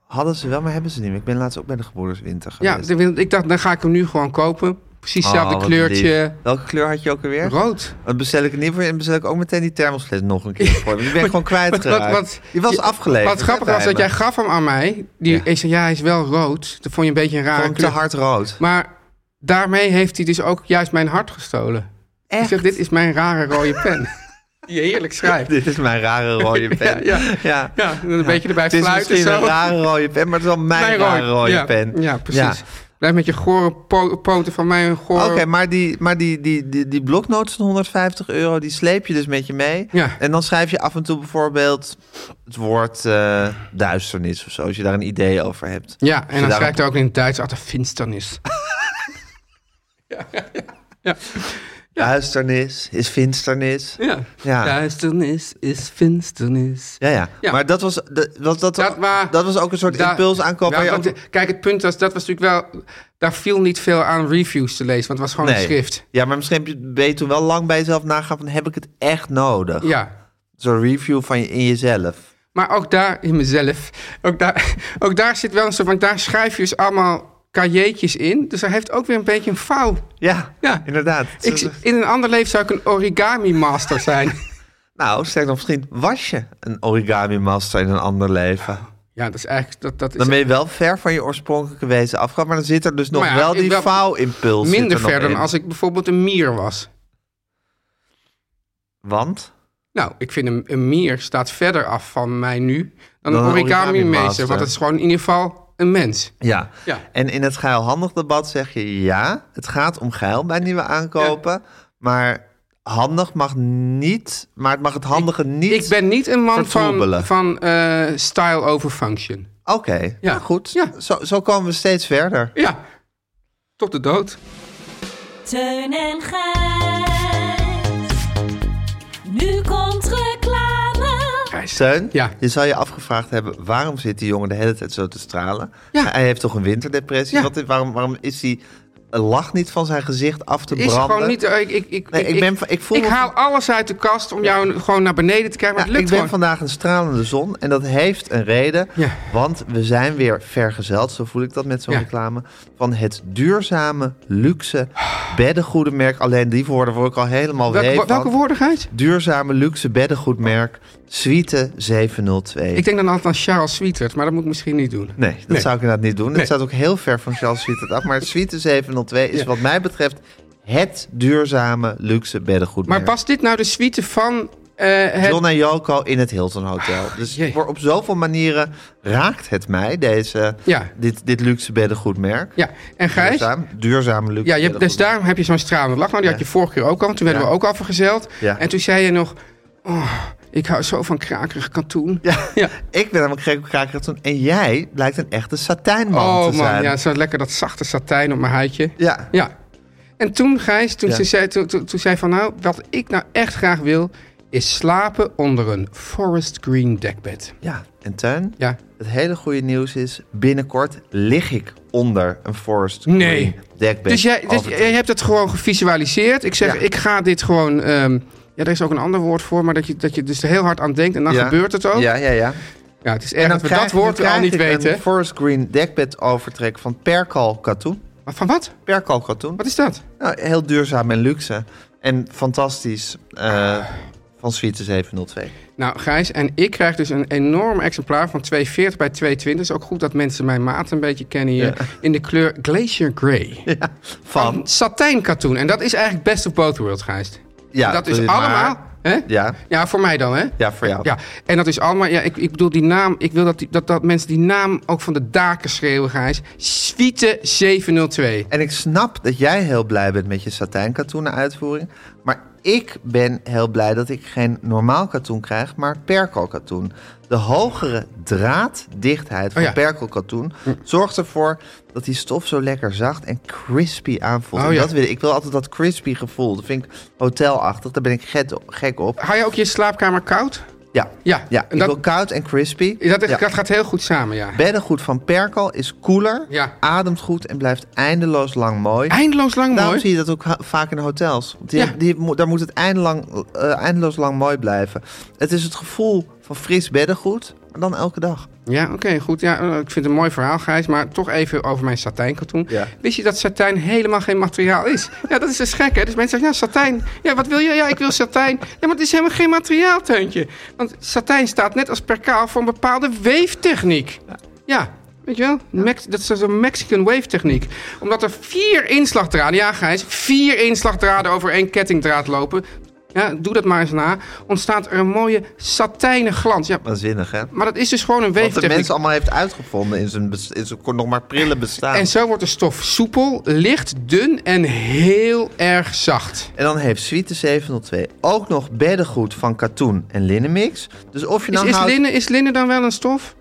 S2: hadden ze wel, maar hebben ze niet meer. Ik ben laatst ook bij de Gebroeders Winter
S3: ja,
S2: geweest.
S3: de- ik dacht, dan ga ik hem nu gewoon kopen. Precies hetzelfde
S2: Oh, wat
S3: kleurtje.
S2: lief. Welke kleur had je ook alweer?
S3: Rood.
S2: Dan bestel ik het niet voor je en bestel ik ook meteen die thermosfles nog een keer voor. je. Die ben ik gewoon
S3: Wat-
S2: kwijtgeraakt.
S3: wat- wat-
S2: die was afgeleverd.
S3: Wat grappig was dat jij gaf hem aan mij. Die, Ik zei, ja, hij is wel rood. Dat vond je een beetje een rare
S2: Gewoon te
S3: kleur.
S2: hard rood.
S3: Maar daarmee heeft hij dus ook juist mijn hart gestolen. Ik zeg, dit is mijn rare rode pen. Die je heerlijk schrijft.
S2: Dit is mijn rare rode pen.
S3: Ja, ja. Ja, en dan een beetje erbij
S2: Het is
S3: fluiten.
S2: misschien
S3: Zo.
S2: een rare rode pen, maar het is wel mijn, rare rode
S3: ja.
S2: pen.
S3: Ja, precies. Blijf met je gore po- poten van mij een gore...
S2: Oké, maar, die, maar die, die, die, die bloknotes van 150 euro, die sleep je dus met je mee.
S3: Ja.
S2: En dan schrijf je af en toe bijvoorbeeld het woord eh, duisternis of zo, als je daar een idee over hebt.
S3: Ja, en dan
S2: daarom-
S3: schrijft hij ook in het Duits achter finsternis.
S2: Duisternis is finsternis.
S3: Ja.
S2: Ja.
S3: Duisternis is finsternis.
S2: Ja, ja.
S3: Ja.
S2: Maar dat was, dat, dat, dat,
S3: Dat wa-
S2: dat was ook een soort
S3: Daar-
S2: impuls aankopen.
S3: Ja,
S2: waar je
S3: want
S2: ook-
S3: de- Kijk, het punt was, dat was natuurlijk wel... Daar viel niet veel aan reviews te lezen, want het was gewoon een schrift.
S2: Ja, maar misschien heb je- ben je toen wel lang bij jezelf nagaan van heb ik het echt nodig?
S3: Ja.
S2: Zo'n review van je, in jezelf.
S3: Maar ook daar, in mezelf, ook daar, ook daar zit wel een soort... Want daar schrijf je dus allemaal cahiers in. Dus hij heeft ook weer een beetje een fout.
S2: Ja,
S3: Ja.
S2: inderdaad.
S3: Ik, in een ander leven zou ik een origami master zijn.
S2: Nou, sterk nog misschien was je een origami master in een ander leven.
S3: ja, dat is eigenlijk... Dat, dat is
S2: Dan ben je wel ver van je oorspronkelijke wezen afgegaan, maar dan zit er dus nog
S3: Maar Nou ja,
S2: wel
S3: ik
S2: die
S3: wel-
S2: vouwimpuls. zit
S3: minder
S2: er nog
S3: ver dan
S2: in.
S3: als ik bijvoorbeeld een mier was.
S2: Want?
S3: Nou, ik vind een, een mier staat verder af van mij nu dan,
S2: Dan
S3: een
S2: een
S3: origami meester.
S2: origami-master.
S3: Want het is gewoon in ieder geval een mens.
S2: Ja.
S3: Ja.
S2: En in het geilhandig debat zeg je ja, het gaat om geil bij nieuwe aankopen, maar handig mag niet, maar het mag het handige niet.
S3: Ik ben niet een man van,
S2: Vertroebelen.
S3: van eh, style over function.
S2: Oké,
S3: Ja.
S2: nou goed.
S3: Ja.
S2: Zo, zo komen we steeds verder.
S3: Ja, tot de dood.
S5: Teun en Gijs. Nu komt reclame.
S2: Steun,
S3: Ja.
S2: je zou je afgevraagd hebben... waarom zit die jongen de hele tijd zo te stralen?
S3: Ja.
S2: Hij heeft toch een winterdepressie?
S3: Ja.
S2: Wat, waarom, waarom is hij een lach niet van zijn gezicht af te
S3: Is
S2: branden?
S3: gewoon niet. eh, Ik, ik, ik,
S2: Nee, ik ben van- ik voel me-
S3: haal alles uit de kast om jou gewoon naar beneden te krijgen.
S2: Ja,
S3: Maar
S2: ik
S3: het
S2: ben
S3: lukt gewoon.
S2: vandaag een stralende zon en dat heeft een reden.
S3: Ja.
S2: Want we zijn weer vergezeld, zo voel ik dat met zo'n
S3: Ja.
S2: reclame... van het duurzame, luxe beddengoedenmerk. Alleen die woorden word ik al helemaal
S3: Welke,
S2: wee
S3: wo-
S2: van.
S3: welke woordigheid?
S2: Duurzame, luxe beddengoedmerk Suite 702.
S3: Ik denk dan altijd aan Charles Sweetert, maar dat moet ik misschien niet doen.
S2: Nee, dat
S3: Nee.
S2: zou ik inderdaad niet doen.
S3: Nee.
S2: Het staat ook heel ver van Charles Sweeter af. Maar het Sweeter 702 is
S3: Ja.
S2: wat mij betreft het duurzame luxe beddengoed.
S3: Maar past dit nou de suite van eh, het... Ah,
S2: John en Joko in het Hilton Hotel. Dus
S3: jee.
S2: voor op zoveel manieren raakt het mij, deze,
S3: Ja.
S2: dit, dit luxe beddengoedmerk.
S3: Ja, en Gijs?
S2: Duurzaam, duurzaam luxe
S3: Ja, je hebt, dus
S2: beddengoed.
S3: daarom heb je zo'n stralende lach. Nou, die had je vorige keer ook al. want Toen werden
S2: Ja.
S3: we ook al vergezeld.
S2: Ja.
S3: En toen zei je nog... Oh, ik hou zo van krakerig katoen.
S2: Ja.
S3: Ja.
S2: Ik ben helemaal gek op kraakratsen. En jij blijkt een echte satijnman
S3: oh
S2: te
S3: man,
S2: zijn.
S3: ja, zo lekker dat zachte satijn op mijn huidje.
S2: ja.
S3: Ja. En toen, Gijs, toen,
S2: Ja.
S3: ze zei, toen, toen, toen zei van... Nou, wat ik nou echt graag wil... is slapen onder een forest green dekbed.
S2: Ja, en Tuin,
S3: Ja.
S2: het hele goede nieuws is... binnenkort lig ik onder een forest
S3: Nee.
S2: green dekbed.
S3: Dus, jij, dus
S2: Over-
S3: jij hebt het gewoon gevisualiseerd. Ik zeg,
S2: Ja.
S3: ik ga dit gewoon... ehm, ja, daar is ook een ander woord voor, maar dat je, dat je dus er heel hard aan denkt en dan
S2: Ja.
S3: gebeurt het ook.
S2: Ja, ja, ja.
S3: Ja, het is erg dat we
S2: krijg-
S3: dat woord
S2: dan
S3: al niet
S2: krijg ik
S3: weten.
S2: een forest green dekbed overtrek van Perkal Katoen.
S3: Maar van wat?
S2: Perkal Katoen.
S3: Wat is dat?
S2: Nou, heel duurzaam en luxe. En fantastisch
S3: Ah.
S2: eh, van Suite 702.
S3: Nou, Gijs, en ik krijg dus een enorm exemplaar van 240 bij 220. is ook goed dat mensen mijn maat een beetje kennen hier. In de kleur Glacier Grey.
S2: Van,
S3: Satijnkatoen. En dat is eigenlijk best of both worlds, Gijs.
S2: ja,
S3: dat is
S2: maar-
S3: allemaal... Hè?
S2: ja,
S3: Ja, voor mij dan, hè?
S2: ja, voor jou.
S3: Ja, en dat is allemaal... Ja, ik, ik bedoel, die naam... Ik wil dat, die- dat, dat mensen die naam ook van de daken schreeuwen, Gijs. Suite 702.
S2: En ik snap dat jij heel blij bent met je satijnkatoenen uitvoering. Maar ik ben heel blij dat ik geen normaal katoen krijg, maar perkelkatoen. De hogere draaddichtheid van
S3: Oh ja.
S2: perkelkatoen zorgt ervoor dat die stof zo lekker zacht en crispy aanvoelt.
S3: Oh
S2: En
S3: ja.
S2: dat wil ik. Ik wil altijd dat crispy gevoel. Dat vind ik hotelachtig. Daar ben ik get- gek op.
S3: Hou je ook je slaapkamer koud?
S2: Ja,
S3: Ja,
S2: ja.
S3: en
S2: Ik
S3: dat-
S2: wil koud en crispy.
S3: Dat,
S2: Ja.
S3: dat gaat heel goed samen, ja.
S2: Beddengoed van perkel is koeler,
S3: Ja.
S2: ademt goed en blijft eindeloos lang mooi.
S3: Eindeloos lang
S2: Daarom
S3: mooi.
S2: zie je dat ook ha- vaak in hotels. Die,
S3: Ja.
S2: die mo- daar moet het eindelang, eh, eindeloos lang mooi blijven. Het is het gevoel van fris beddengoed. maar dan elke dag.
S3: Ja, oké, goed. Ja, eh, ik vind het een mooi verhaal, Gijs. Maar toch even over mijn satijnkatoen.
S2: Ja.
S3: Wist je dat satijn helemaal geen materiaal is? Ja, dat is dus gek, hè? Dus mensen zeggen, ja, satijn. Ja, wat wil je? Ja, ik wil satijn. Ja, maar het is helemaal geen materiaal, Teuntje. Want satijn staat net als perkaal voor een bepaalde weeftechniek. Ja, weet je wel? Mex- dat is dus een Mexican wave techniek. Omdat er vier inslagdraden, ja Gijs, vier inslagdraden over één kettingdraad lopen... Ja, doe dat maar eens na. Ontstaat er een mooie satijnen glans. Ja,
S2: Waanzinnig, hè?
S3: maar dat is dus gewoon een
S2: Wat de
S3: weeftechniek.
S2: mens allemaal heeft uitgevonden in zijn, bes- in zijn kon nog maar prille bestaan.
S3: En
S2: En,
S3: zo wordt de stof soepel, licht, dun en heel erg zacht.
S2: dan heeft Suite 702 ook nog beddengoed van katoen en linnenmix. Dus of je
S3: Is,
S2: nou
S3: is,
S2: houdt...
S3: linnen, is linnen dan wel een stof?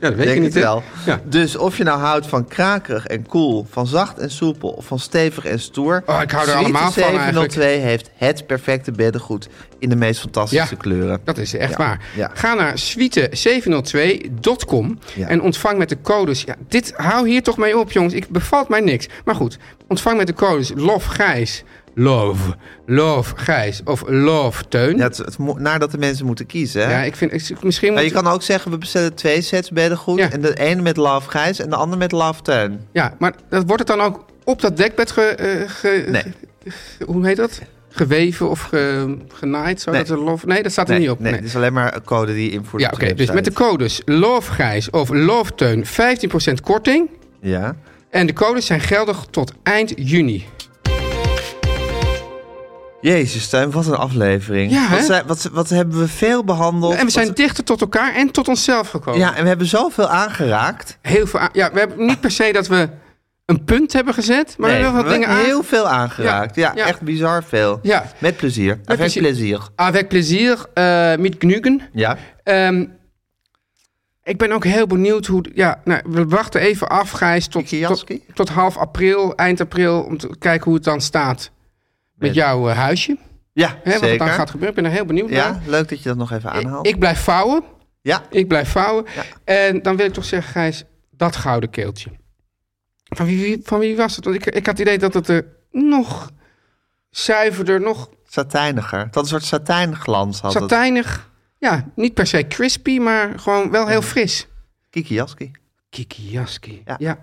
S3: Ja, dat weet
S2: Denk
S3: ik
S2: het
S3: niet. hè?
S2: wel.
S3: Ja.
S2: Dus of je nou houdt van krakerig en koel, van zacht en soepel, of van stevig en stoer.
S3: Oh, ik hou er
S2: Suite
S3: allemaal van eigenlijk.
S2: 702 heeft het perfecte beddengoed in de meest fantastische
S3: Ja.
S2: kleuren.
S3: Dat is echt
S2: Ja,
S3: waar.
S2: ja.
S3: Ga naar suite702.com
S2: Ja.
S3: en ontvang met de codes... Ja, dit hou hier toch mee op, jongens. Ik bevalt mij niks. Maar goed, ontvang met de codes LOVE Gijs. LOVE. LOVE Gijs. Of LOVE Teun.
S2: Ja,
S3: Ja,
S2: het, het mo- nadat de mensen moeten kiezen. Hè?
S3: ik vind... Ik, misschien
S2: Nou,
S3: moet,
S2: je kan ook zeggen, we bestellen twee sets beddengoed.
S3: Ja.
S2: En de ene met Love Gijs en de andere met Love Tuin.
S3: Ja, maar dat wordt het dan ook op dat dekbed ge, eh, ge-
S2: Nee.
S3: ge- hoe heet dat? Geweven of ge, genaaid? Zo,
S2: Nee.
S3: dat er lof, nee, dat staat er niet op.
S2: nee,
S3: nee.
S2: dit is alleen maar een code die je invoert.
S3: Ja,
S2: op
S3: oké.
S2: de
S3: dus met de
S2: website.
S3: codes LOVEGRIJS of LOVETEUN 15% korting.
S2: Ja.
S3: En de codes zijn geldig tot eind juni.
S2: Jezus, Tuin, wat een aflevering.
S3: Ja,
S2: wat,
S3: hè?
S2: zijn- wat, wat hebben we veel behandeld.
S3: En we zijn
S2: Wat-
S3: dichter tot elkaar en tot onszelf gekomen.
S2: ja, en we hebben zoveel aangeraakt.
S3: Heel veel aan- ja, we hebben niet per se dat we een punt hebben gezet, maar
S2: Nee,
S3: we hebben
S2: we
S3: wat dingen aan.
S2: heel veel aangeraakt. Ja,
S3: Ja, ja.
S2: echt bizar veel.
S3: Ja.
S2: Met plezier. Met plezier.
S3: plezier.
S2: plezier.
S3: Avec plezier, eh met gnugen.
S2: Ja.
S3: Ehm, ik ben ook heel benieuwd hoe. Ja, nou, we wachten even af, Gijs, tot,
S2: Mickey
S3: tot,
S2: Jaski?
S3: tot half april, eind april, om te kijken hoe het dan staat met
S2: Met-
S3: jouw eh, huisje.
S2: Ja,
S3: Hè, wat er
S2: zeker.
S3: dan gaat gebeuren. Ik ben er heel benieuwd
S2: ja,
S3: naar.
S2: leuk dat je dat nog even aanhaalt.
S3: Ik, ik blijf vouwen.
S2: ja,
S3: Ik blijf vouwen. En dan wil ik toch zeggen, Gijs, dat gouden keeltje. Van wie, wie- van wie was het? Want ik, ik had het idee dat het er nog zuiverder, nog
S2: satijniger. Dat een soort satijnglans had het.
S3: satijnig. Ja, niet per se crispy, maar gewoon wel
S2: Mhm.
S3: heel fris.
S2: Kiki Jaski.
S3: Kiki Jaski. Ja.
S2: Ja.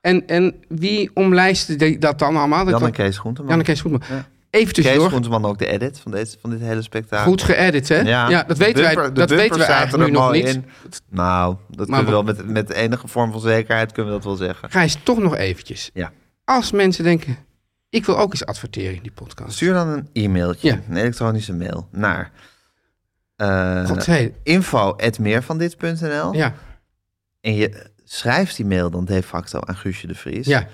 S3: En, en wie omlijstte die- dat dan allemaal? Dat
S2: Jan en
S3: dat-
S2: Kees Groenteman.
S3: Jan en Kees Groenteman.
S2: Ja.
S3: Even
S2: Kees
S3: tussendoor.
S2: Groenteman ook de edit van, deze, van dit hele spektakel.
S3: Goed geëdit, hè? Ja, dat
S2: de
S3: weten wij,
S2: bumper- de
S3: dat weten we
S2: bumpers zaten
S3: eigenlijk nu
S2: er
S3: nog
S2: mooi
S3: niet.
S2: in. Nou, dat
S3: Maar
S2: kunnen we wel met, met enige vorm van zekerheid kunnen we dat wel zeggen.
S3: Gijs, toch nog eventjes.
S2: Ja.
S3: Als mensen denken, ik wil ook eens adverteren in die podcast.
S2: Stuur dan een e-mailtje,
S3: Ja.
S2: een elektronische mail, naar eh
S3: God, hey.
S2: info.meervandit.nl
S3: Ja,
S2: en je schrijft die mail dan de facto aan Guusje de Vries.
S3: ja.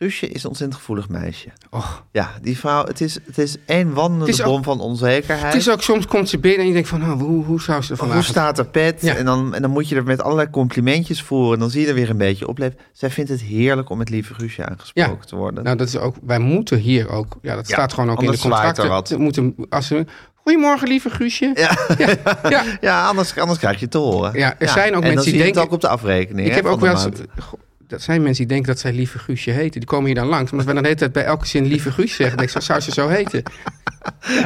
S2: Guusje is een ontzettend gevoelig meisje.
S3: Och.
S2: Ja, die vrouw, het is, het is één wandelende
S3: Het is ook-
S2: bom van onzekerheid.
S3: Het is ook, soms komt ze binnen en je denkt van, nou, hoe, hoe zou ze er
S2: Of Oh, hoe
S3: vandaag...
S2: staat er pet?
S3: Ja.
S2: En, dan, en dan moet je er met allerlei complimentjes voor. En dan zie je er weer een beetje opleven. Zij vindt het heerlijk om met lieve Guusje aangesproken
S3: Ja.
S2: te worden.
S3: Nou, dat is ook, wij moeten hier ook, ja, dat
S2: Ja,
S3: staat gewoon ook in de
S2: anders zwaait er
S3: contracten.
S2: wat.
S3: We moeten, als ze, Goedemorgen, lieve Guusje.
S2: ja.
S3: ja, ja.
S2: ja, anders, anders krijg je het te horen.
S3: Ja, er zijn ook
S2: en dan
S3: mensen die
S2: zie je
S3: denken-
S2: het ook op de afrekening. hè,
S3: Ik heb
S2: van
S3: ook
S2: de
S3: wel eens.
S2: maand.
S3: Goh, Dat zijn mensen die denken dat zij lieve Guusje heten. Die komen hier dan langs. Omdat we dan de hele tijd bij elke zin lieve Guus zeggen. Denk ik, zo zou ze zo heten.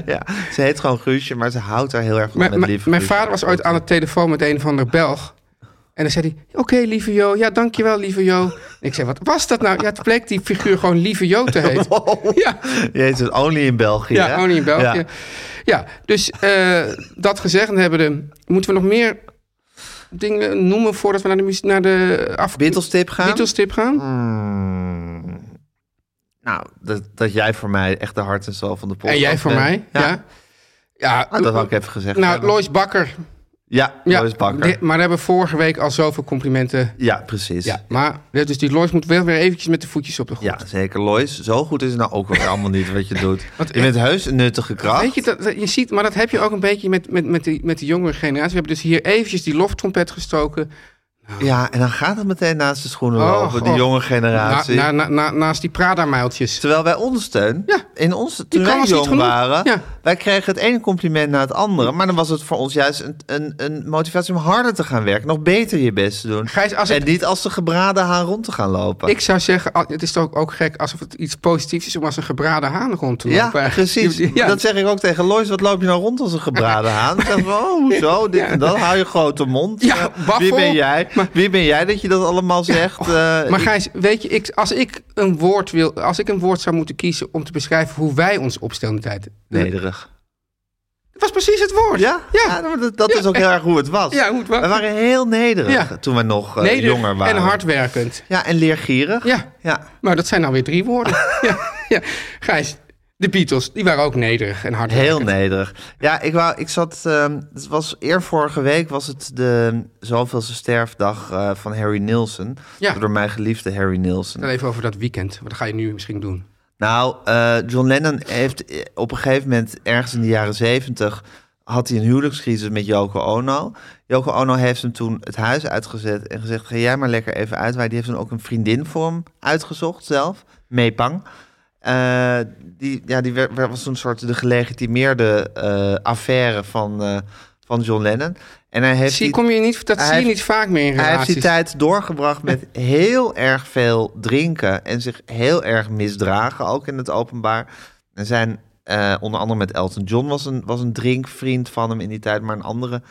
S2: Ja, ze heet gewoon Guusje, maar ze houdt er heel erg van
S3: Mijn-
S2: met
S3: mijn-
S2: lieve
S3: mijn
S2: Guusje.
S3: vader was ooit aan de telefoon met een van de Belg. En dan zei hij, oké, lieve Jo. Ja, dankjewel, lieve Jo. En ik zei, wat was dat nou? Ja, het bleek die figuur gewoon lieve Jo te heten.
S2: Oh.
S3: Ja,
S2: Jezus, only in België.
S3: ja,
S2: hè?
S3: only in België. Ja,
S2: Ja.
S3: dus eh, dat gezegd hebbende, moeten we nog meer dingen noemen voordat we naar de, muzie- naar de af-
S2: Beatles-tip gaan? Mm.
S3: Beatles-tip gaan?
S2: Hmm. Nou, dat, dat jij voor mij echt de hart en ziel van de podcast
S3: En jij voor
S2: bent.
S3: mij? Ja. Ja,
S2: eh, Ah, dat had ik even gezegd.
S3: Nou,
S2: hebben.
S3: Lois Bakker.
S2: Ja,
S3: Ja,
S2: Lois Bakker.
S3: die- maar we hebben vorige week al zoveel complimenten.
S2: Ja, precies.
S3: Ja, maar dus die Lois moet wel weer eventjes met de voetjes op de grond.
S2: Ja, zeker. Lois, zo goed is het nou ook weer allemaal niet wat je doet.
S3: Want
S2: je bent heus een nuttige kracht.
S3: Weet je, dat, dat- je ziet, maar dat heb je ook een beetje met, met, met, die, met de jongere generatie. We hebben dus hier eventjes die loftrompet gestoken.
S2: Ja, en dan gaat het meteen naast de schoenen
S3: Oh, Nou,
S2: lopen, die
S3: God.
S2: jonge
S3: Na,
S2: generatie.
S3: na, na, na- naast die Prada-mijltjes.
S2: Terwijl wij ons steun,
S3: Ja.
S2: in ons, toen
S3: kan
S2: wij
S3: ons niet
S2: jong
S3: genoeg.
S2: waren,
S3: Ja.
S2: wij kregen het ene compliment na het andere. Maar dan was het voor ons juist een, een, een motivatie om harder te gaan werken. Nog beter je best te doen.
S3: Gijs, als
S2: en
S3: ik-
S2: niet als de gebraden haan rond te gaan lopen.
S3: Ik zou zeggen, al- het is toch ook gek alsof het iets positiefs is om als een gebraden haan rond te
S2: ja,
S3: lopen. eigenlijk.
S2: precies.
S3: Ja,
S2: Dat zeg ik ook tegen Lois. Wat loop je nou rond als een gebraden haan? Dan zeggen ze, oh, zo, dit en dat. Hou je grote mond.
S3: Ja,
S2: Eh, Wie
S3: waffel.
S2: ben jij? Wie ben jij dat je dat allemaal zegt? Eh,
S3: Maar
S2: ik-
S3: Gijs, weet je, ik, als, ik een woord wil, als ik een woord zou moeten kiezen om te beschrijven hoe wij ons opstellen in de tijd.
S2: Nederig.
S3: Dat was precies het woord.
S2: Ja,
S3: Ja.
S2: ja. maar dat, dat
S3: Ja,
S2: is ook heel erg hoe het was.
S3: Ja, hoe het was.
S2: We waren heel nederig
S3: Ja.
S2: toen we nog eh,
S3: Nederig
S2: jonger waren.
S3: En hardwerkend.
S2: Ja, en leergierig.
S3: Ja.
S2: ja.
S3: Maar dat zijn nou weer drie woorden. ja, ja. Gijs, de Beatles, die waren ook nederig en hardwerkend.
S2: Heel nederig. Ja, ik, wou, ik zat. ehm, het was eer vorige week was het de zoveelste sterfdag eh, van Harry Nilsson.
S3: Ja.
S2: Door mijn geliefde Harry Nilsson.
S3: Dan even over dat weekend. Wat ga je nu misschien doen?
S2: Nou, eh, John Lennon heeft eh, op een gegeven moment, ergens in de jaren zeventig, had hij een huwelijkscrisis met Yoko Ono. Yoko Ono heeft hem toen het huis uitgezet en gezegd: ga jij maar lekker even uit. Die heeft toen ook een vriendin voor hem uitgezocht zelf, Meepang. Eh, die ja, die werd, werd- was een soort de gelegitimeerde eh, affaire van, eh, van John Lennon. En hij heeft
S3: Zie,
S2: die-
S3: kom je niet, dat
S2: hij
S3: zie je
S2: heeft-
S3: niet vaak meer in
S2: hij heeft
S3: relaties.
S2: die tijd doorgebracht met heel erg veel drinken en zich heel erg misdragen, ook in het openbaar. En zijn, eh, onder andere met Elton John was een, was een drinkvriend van hem in die tijd, maar een andere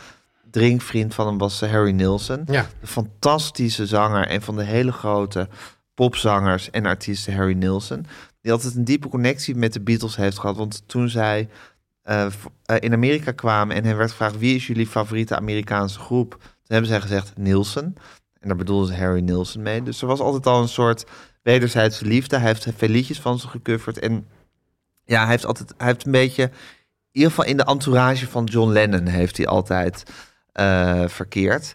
S2: drinkvriend van hem was eh, Harry Nilsson.
S3: Ja.
S2: De fantastische zanger en van de hele grote popzangers en artiesten Harry Nilsson. Die altijd een diepe connectie met de Beatles heeft gehad. Want toen zij eh, v- eh, in Amerika kwamen en hen werd gevraagd... wie is jullie favoriete Amerikaanse groep? Toen hebben zij gezegd Nilsson. En daar bedoelden ze Harry Nilsson mee. Dus er was altijd al een soort wederzijdse liefde. Hij heeft veel liedjes van ze gecoverd. En ja, hij heeft altijd hij heeft een beetje... in ieder geval in de entourage van John Lennon heeft hij altijd eh, verkeerd.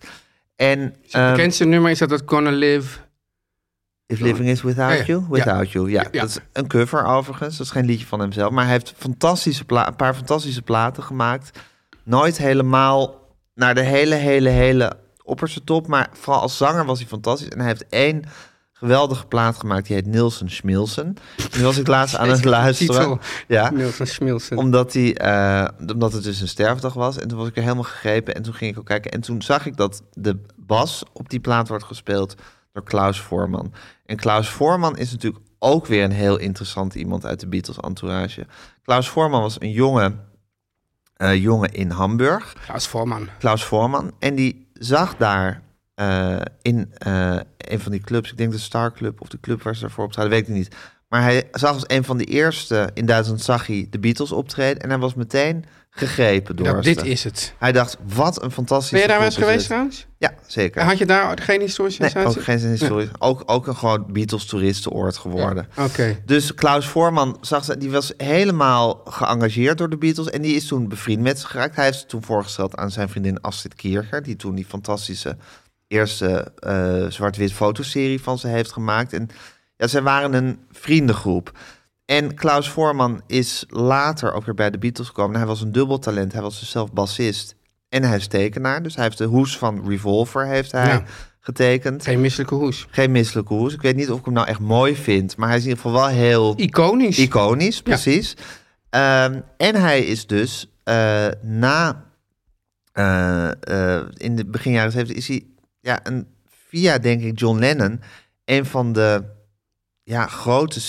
S2: En,
S3: Het
S2: ehm,
S3: bekendste nummer is dat dat Gonna Live.
S2: If Living Is Without
S3: Ja, ja.
S2: You? Without You, ja.
S3: Ja, ja.
S2: Dat is een cover overigens. Dat is geen liedje van hemzelf. Maar hij heeft fantastische pla- een paar fantastische platen gemaakt. Nooit helemaal naar de hele, hele, hele opperste top. Maar vooral als zanger was hij fantastisch. En hij heeft één geweldige plaat gemaakt. Die heet Nielsen Schmielsen. Nu was ik laatst aan het
S3: Jezus,
S2: luisteren.
S3: titel.
S2: Ja.
S3: Milton Schmilson.
S2: Omdat, die, eh, omdat het dus een sterfdag was. En toen was ik er helemaal gegrepen. En toen ging ik ook kijken. En toen zag ik dat de bas op die plaat wordt gespeeld door Klaus Voorman. En Klaus Voorman is natuurlijk ook weer een heel interessant iemand uit de Beatles-entourage. Klaus Voorman was een jongen, eh, jongen in Hamburg.
S3: Klaus Voorman.
S2: Klaus Voorman. En die zag daar eh, in eh, een van die clubs, ik denk de Star Club of de club waar ze daarvoor optraden, weet ik niet. Maar hij zag als een van de eerste in Duitsland zag hij de Beatles optreden en hij was meteen gegrepen door
S3: Ja, dit
S2: ze.
S3: is het.
S2: Hij dacht, wat een fantastische
S3: Ben je daar wel eens
S2: groep
S3: geweest
S2: is dit.
S3: trouwens?
S2: Ja, zeker.
S3: Had je daar geen historische
S2: Nee,
S3: sensatie?
S2: ook geen zin in historisch. Ook, ook een gewoon Beatles-toeristenoord geworden.
S3: Ja, oké.
S2: Dus Klaus Voorman zag ze, die was helemaal geëngageerd door de Beatles. En die is toen bevriend met ze geraakt. Hij heeft ze toen voorgesteld aan zijn vriendin Astrid Kierger. Die toen die fantastische eerste eh, zwart-wit fotoserie van ze heeft gemaakt. En ja, zij waren een vriendengroep. En Klaus Voorman is later ook weer bij de Beatles gekomen. Hij was een dubbeltalent. Hij was dus zelf bassist. En hij is tekenaar. Dus hij heeft de hoes van Revolver heeft hij
S3: Ja.
S2: getekend.
S3: Geen misselijke hoes.
S2: Geen misselijke hoes. Ik weet niet of ik hem nou echt mooi vind, maar hij is in ieder geval wel heel
S3: Iconisch.
S2: iconisch, precies. Ehm, en hij is dus eh, na, eh, eh, in de begin jaren 70, is hij ja, een, via, denk ik, John Lennon, een van de ja, grote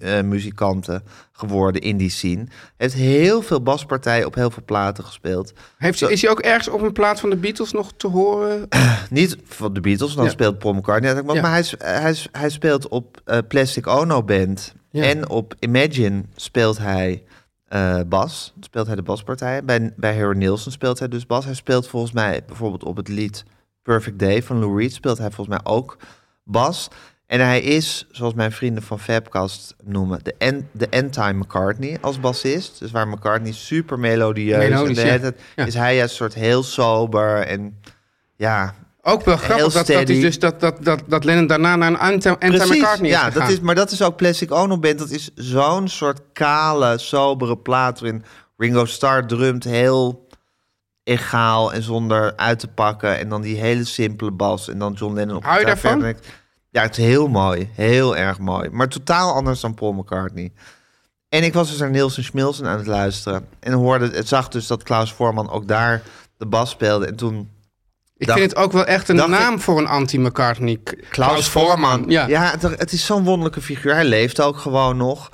S2: sessiemuzikanten geworden in die scene. Heeft heel veel baspartijen op heel veel platen gespeeld.
S3: Heeft, hij- is hij ook ergens op een plaat van de Beatles nog te horen?
S2: Niet van de Beatles, dan
S3: Ja.
S2: speelt Paul McCartney eigenlijk, maar,
S3: Ja.
S2: maar hij, is- hij, is- hij speelt op eh, Plastic Ono Band
S3: Ja.
S2: en op Imagine speelt hij eh, bas, speelt hij de baspartij. Bij, bij Harry Nilsson speelt hij dus bas. Hij speelt volgens mij bijvoorbeeld op het lied Perfect Day van Lou Reed speelt hij volgens mij ook bas. En hij is, zoals mijn vrienden van Fabcast noemen, de, en, de end-time McCartney als bassist. Dus waar McCartney super melodieus en
S3: Melodisch,
S2: de
S3: ja.
S2: hele tijd
S3: Ja.
S2: is hij juist een soort heel sober en ja,
S3: Ook wel grappig dat, dat,
S2: steady.
S3: is dus dat, dat, dat, dat Lennon daarna naar een Anta
S2: Precies,
S3: McCartney is
S2: ja, dat
S3: gegaan.
S2: is, maar dat is ook Plastic Ono Band. Dat is zo'n soort kale, sobere plaat waarin Ringo Starr drumt heel egaal en zonder uit te pakken. En dan die hele simpele bas en dan John Lennon op
S3: Hou je
S2: gitaar
S3: daarvan?
S2: verder. Ja, het is heel mooi. Heel erg mooi. Maar totaal anders dan Paul McCartney. En ik was dus naar Nielsen Schmilsen aan het luisteren. En hoorde, het zag dus dat Klaus Voorman ook daar de bas speelde. En toen
S3: Ik
S2: Dacht-
S3: vind het ook wel echt een
S2: dacht ik-
S3: naam voor een anti-McCartney. K-
S2: Klaus Voorman.
S3: Ja. ja.
S2: ja het, het is zo'n wonderlijke figuur. Hij leeft ook gewoon nog.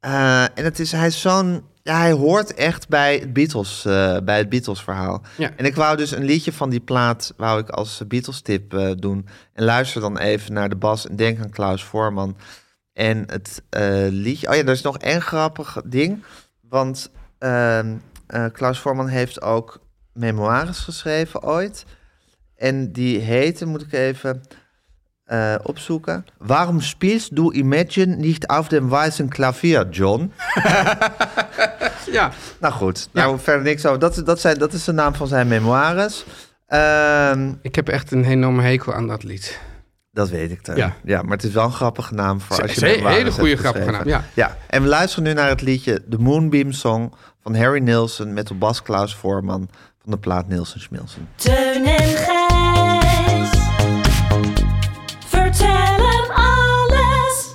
S2: Eh, en het is, hij is zo'n... Ja, hij hoort echt bij het Beatles, eh, bij het Beatles verhaal.
S3: Ja.
S2: En ik wou dus een liedje van die plaat wou ik als Beatles tip eh, doen. En luister dan even naar de bas en denk aan Klaus Voorman. En het eh, liedje... Oh ja, er is nog één grappig ding. Want ehm, eh, Klaus Voorman heeft ook memoires geschreven ooit. En die heette, moet ik even eh, opzoeken. Waarom speelst du Imagine niet auf dem weißen Klavier, John?
S3: ja.
S2: Nou goed, nou verder niks over. Dat, is- dat, zijn, dat is de naam van zijn memoires. Ehm,
S3: Ik heb echt een enorme hekel aan dat lied.
S2: dat weet ik dan. Ja.
S3: Ja.
S2: maar het is wel een grappige naam voor
S3: Ze-
S2: als je
S3: ze- hele
S2: memoires hebt
S3: goede grappige
S2: geschreven.
S3: naam,
S2: ja. En we luisteren nu naar het liedje The Moonbeam Song van Harry Nilsson met de bas Klaus Voorman van de plaat Nilsson Schmilsen.
S5: Teun en Gijs. Vertel hem alles.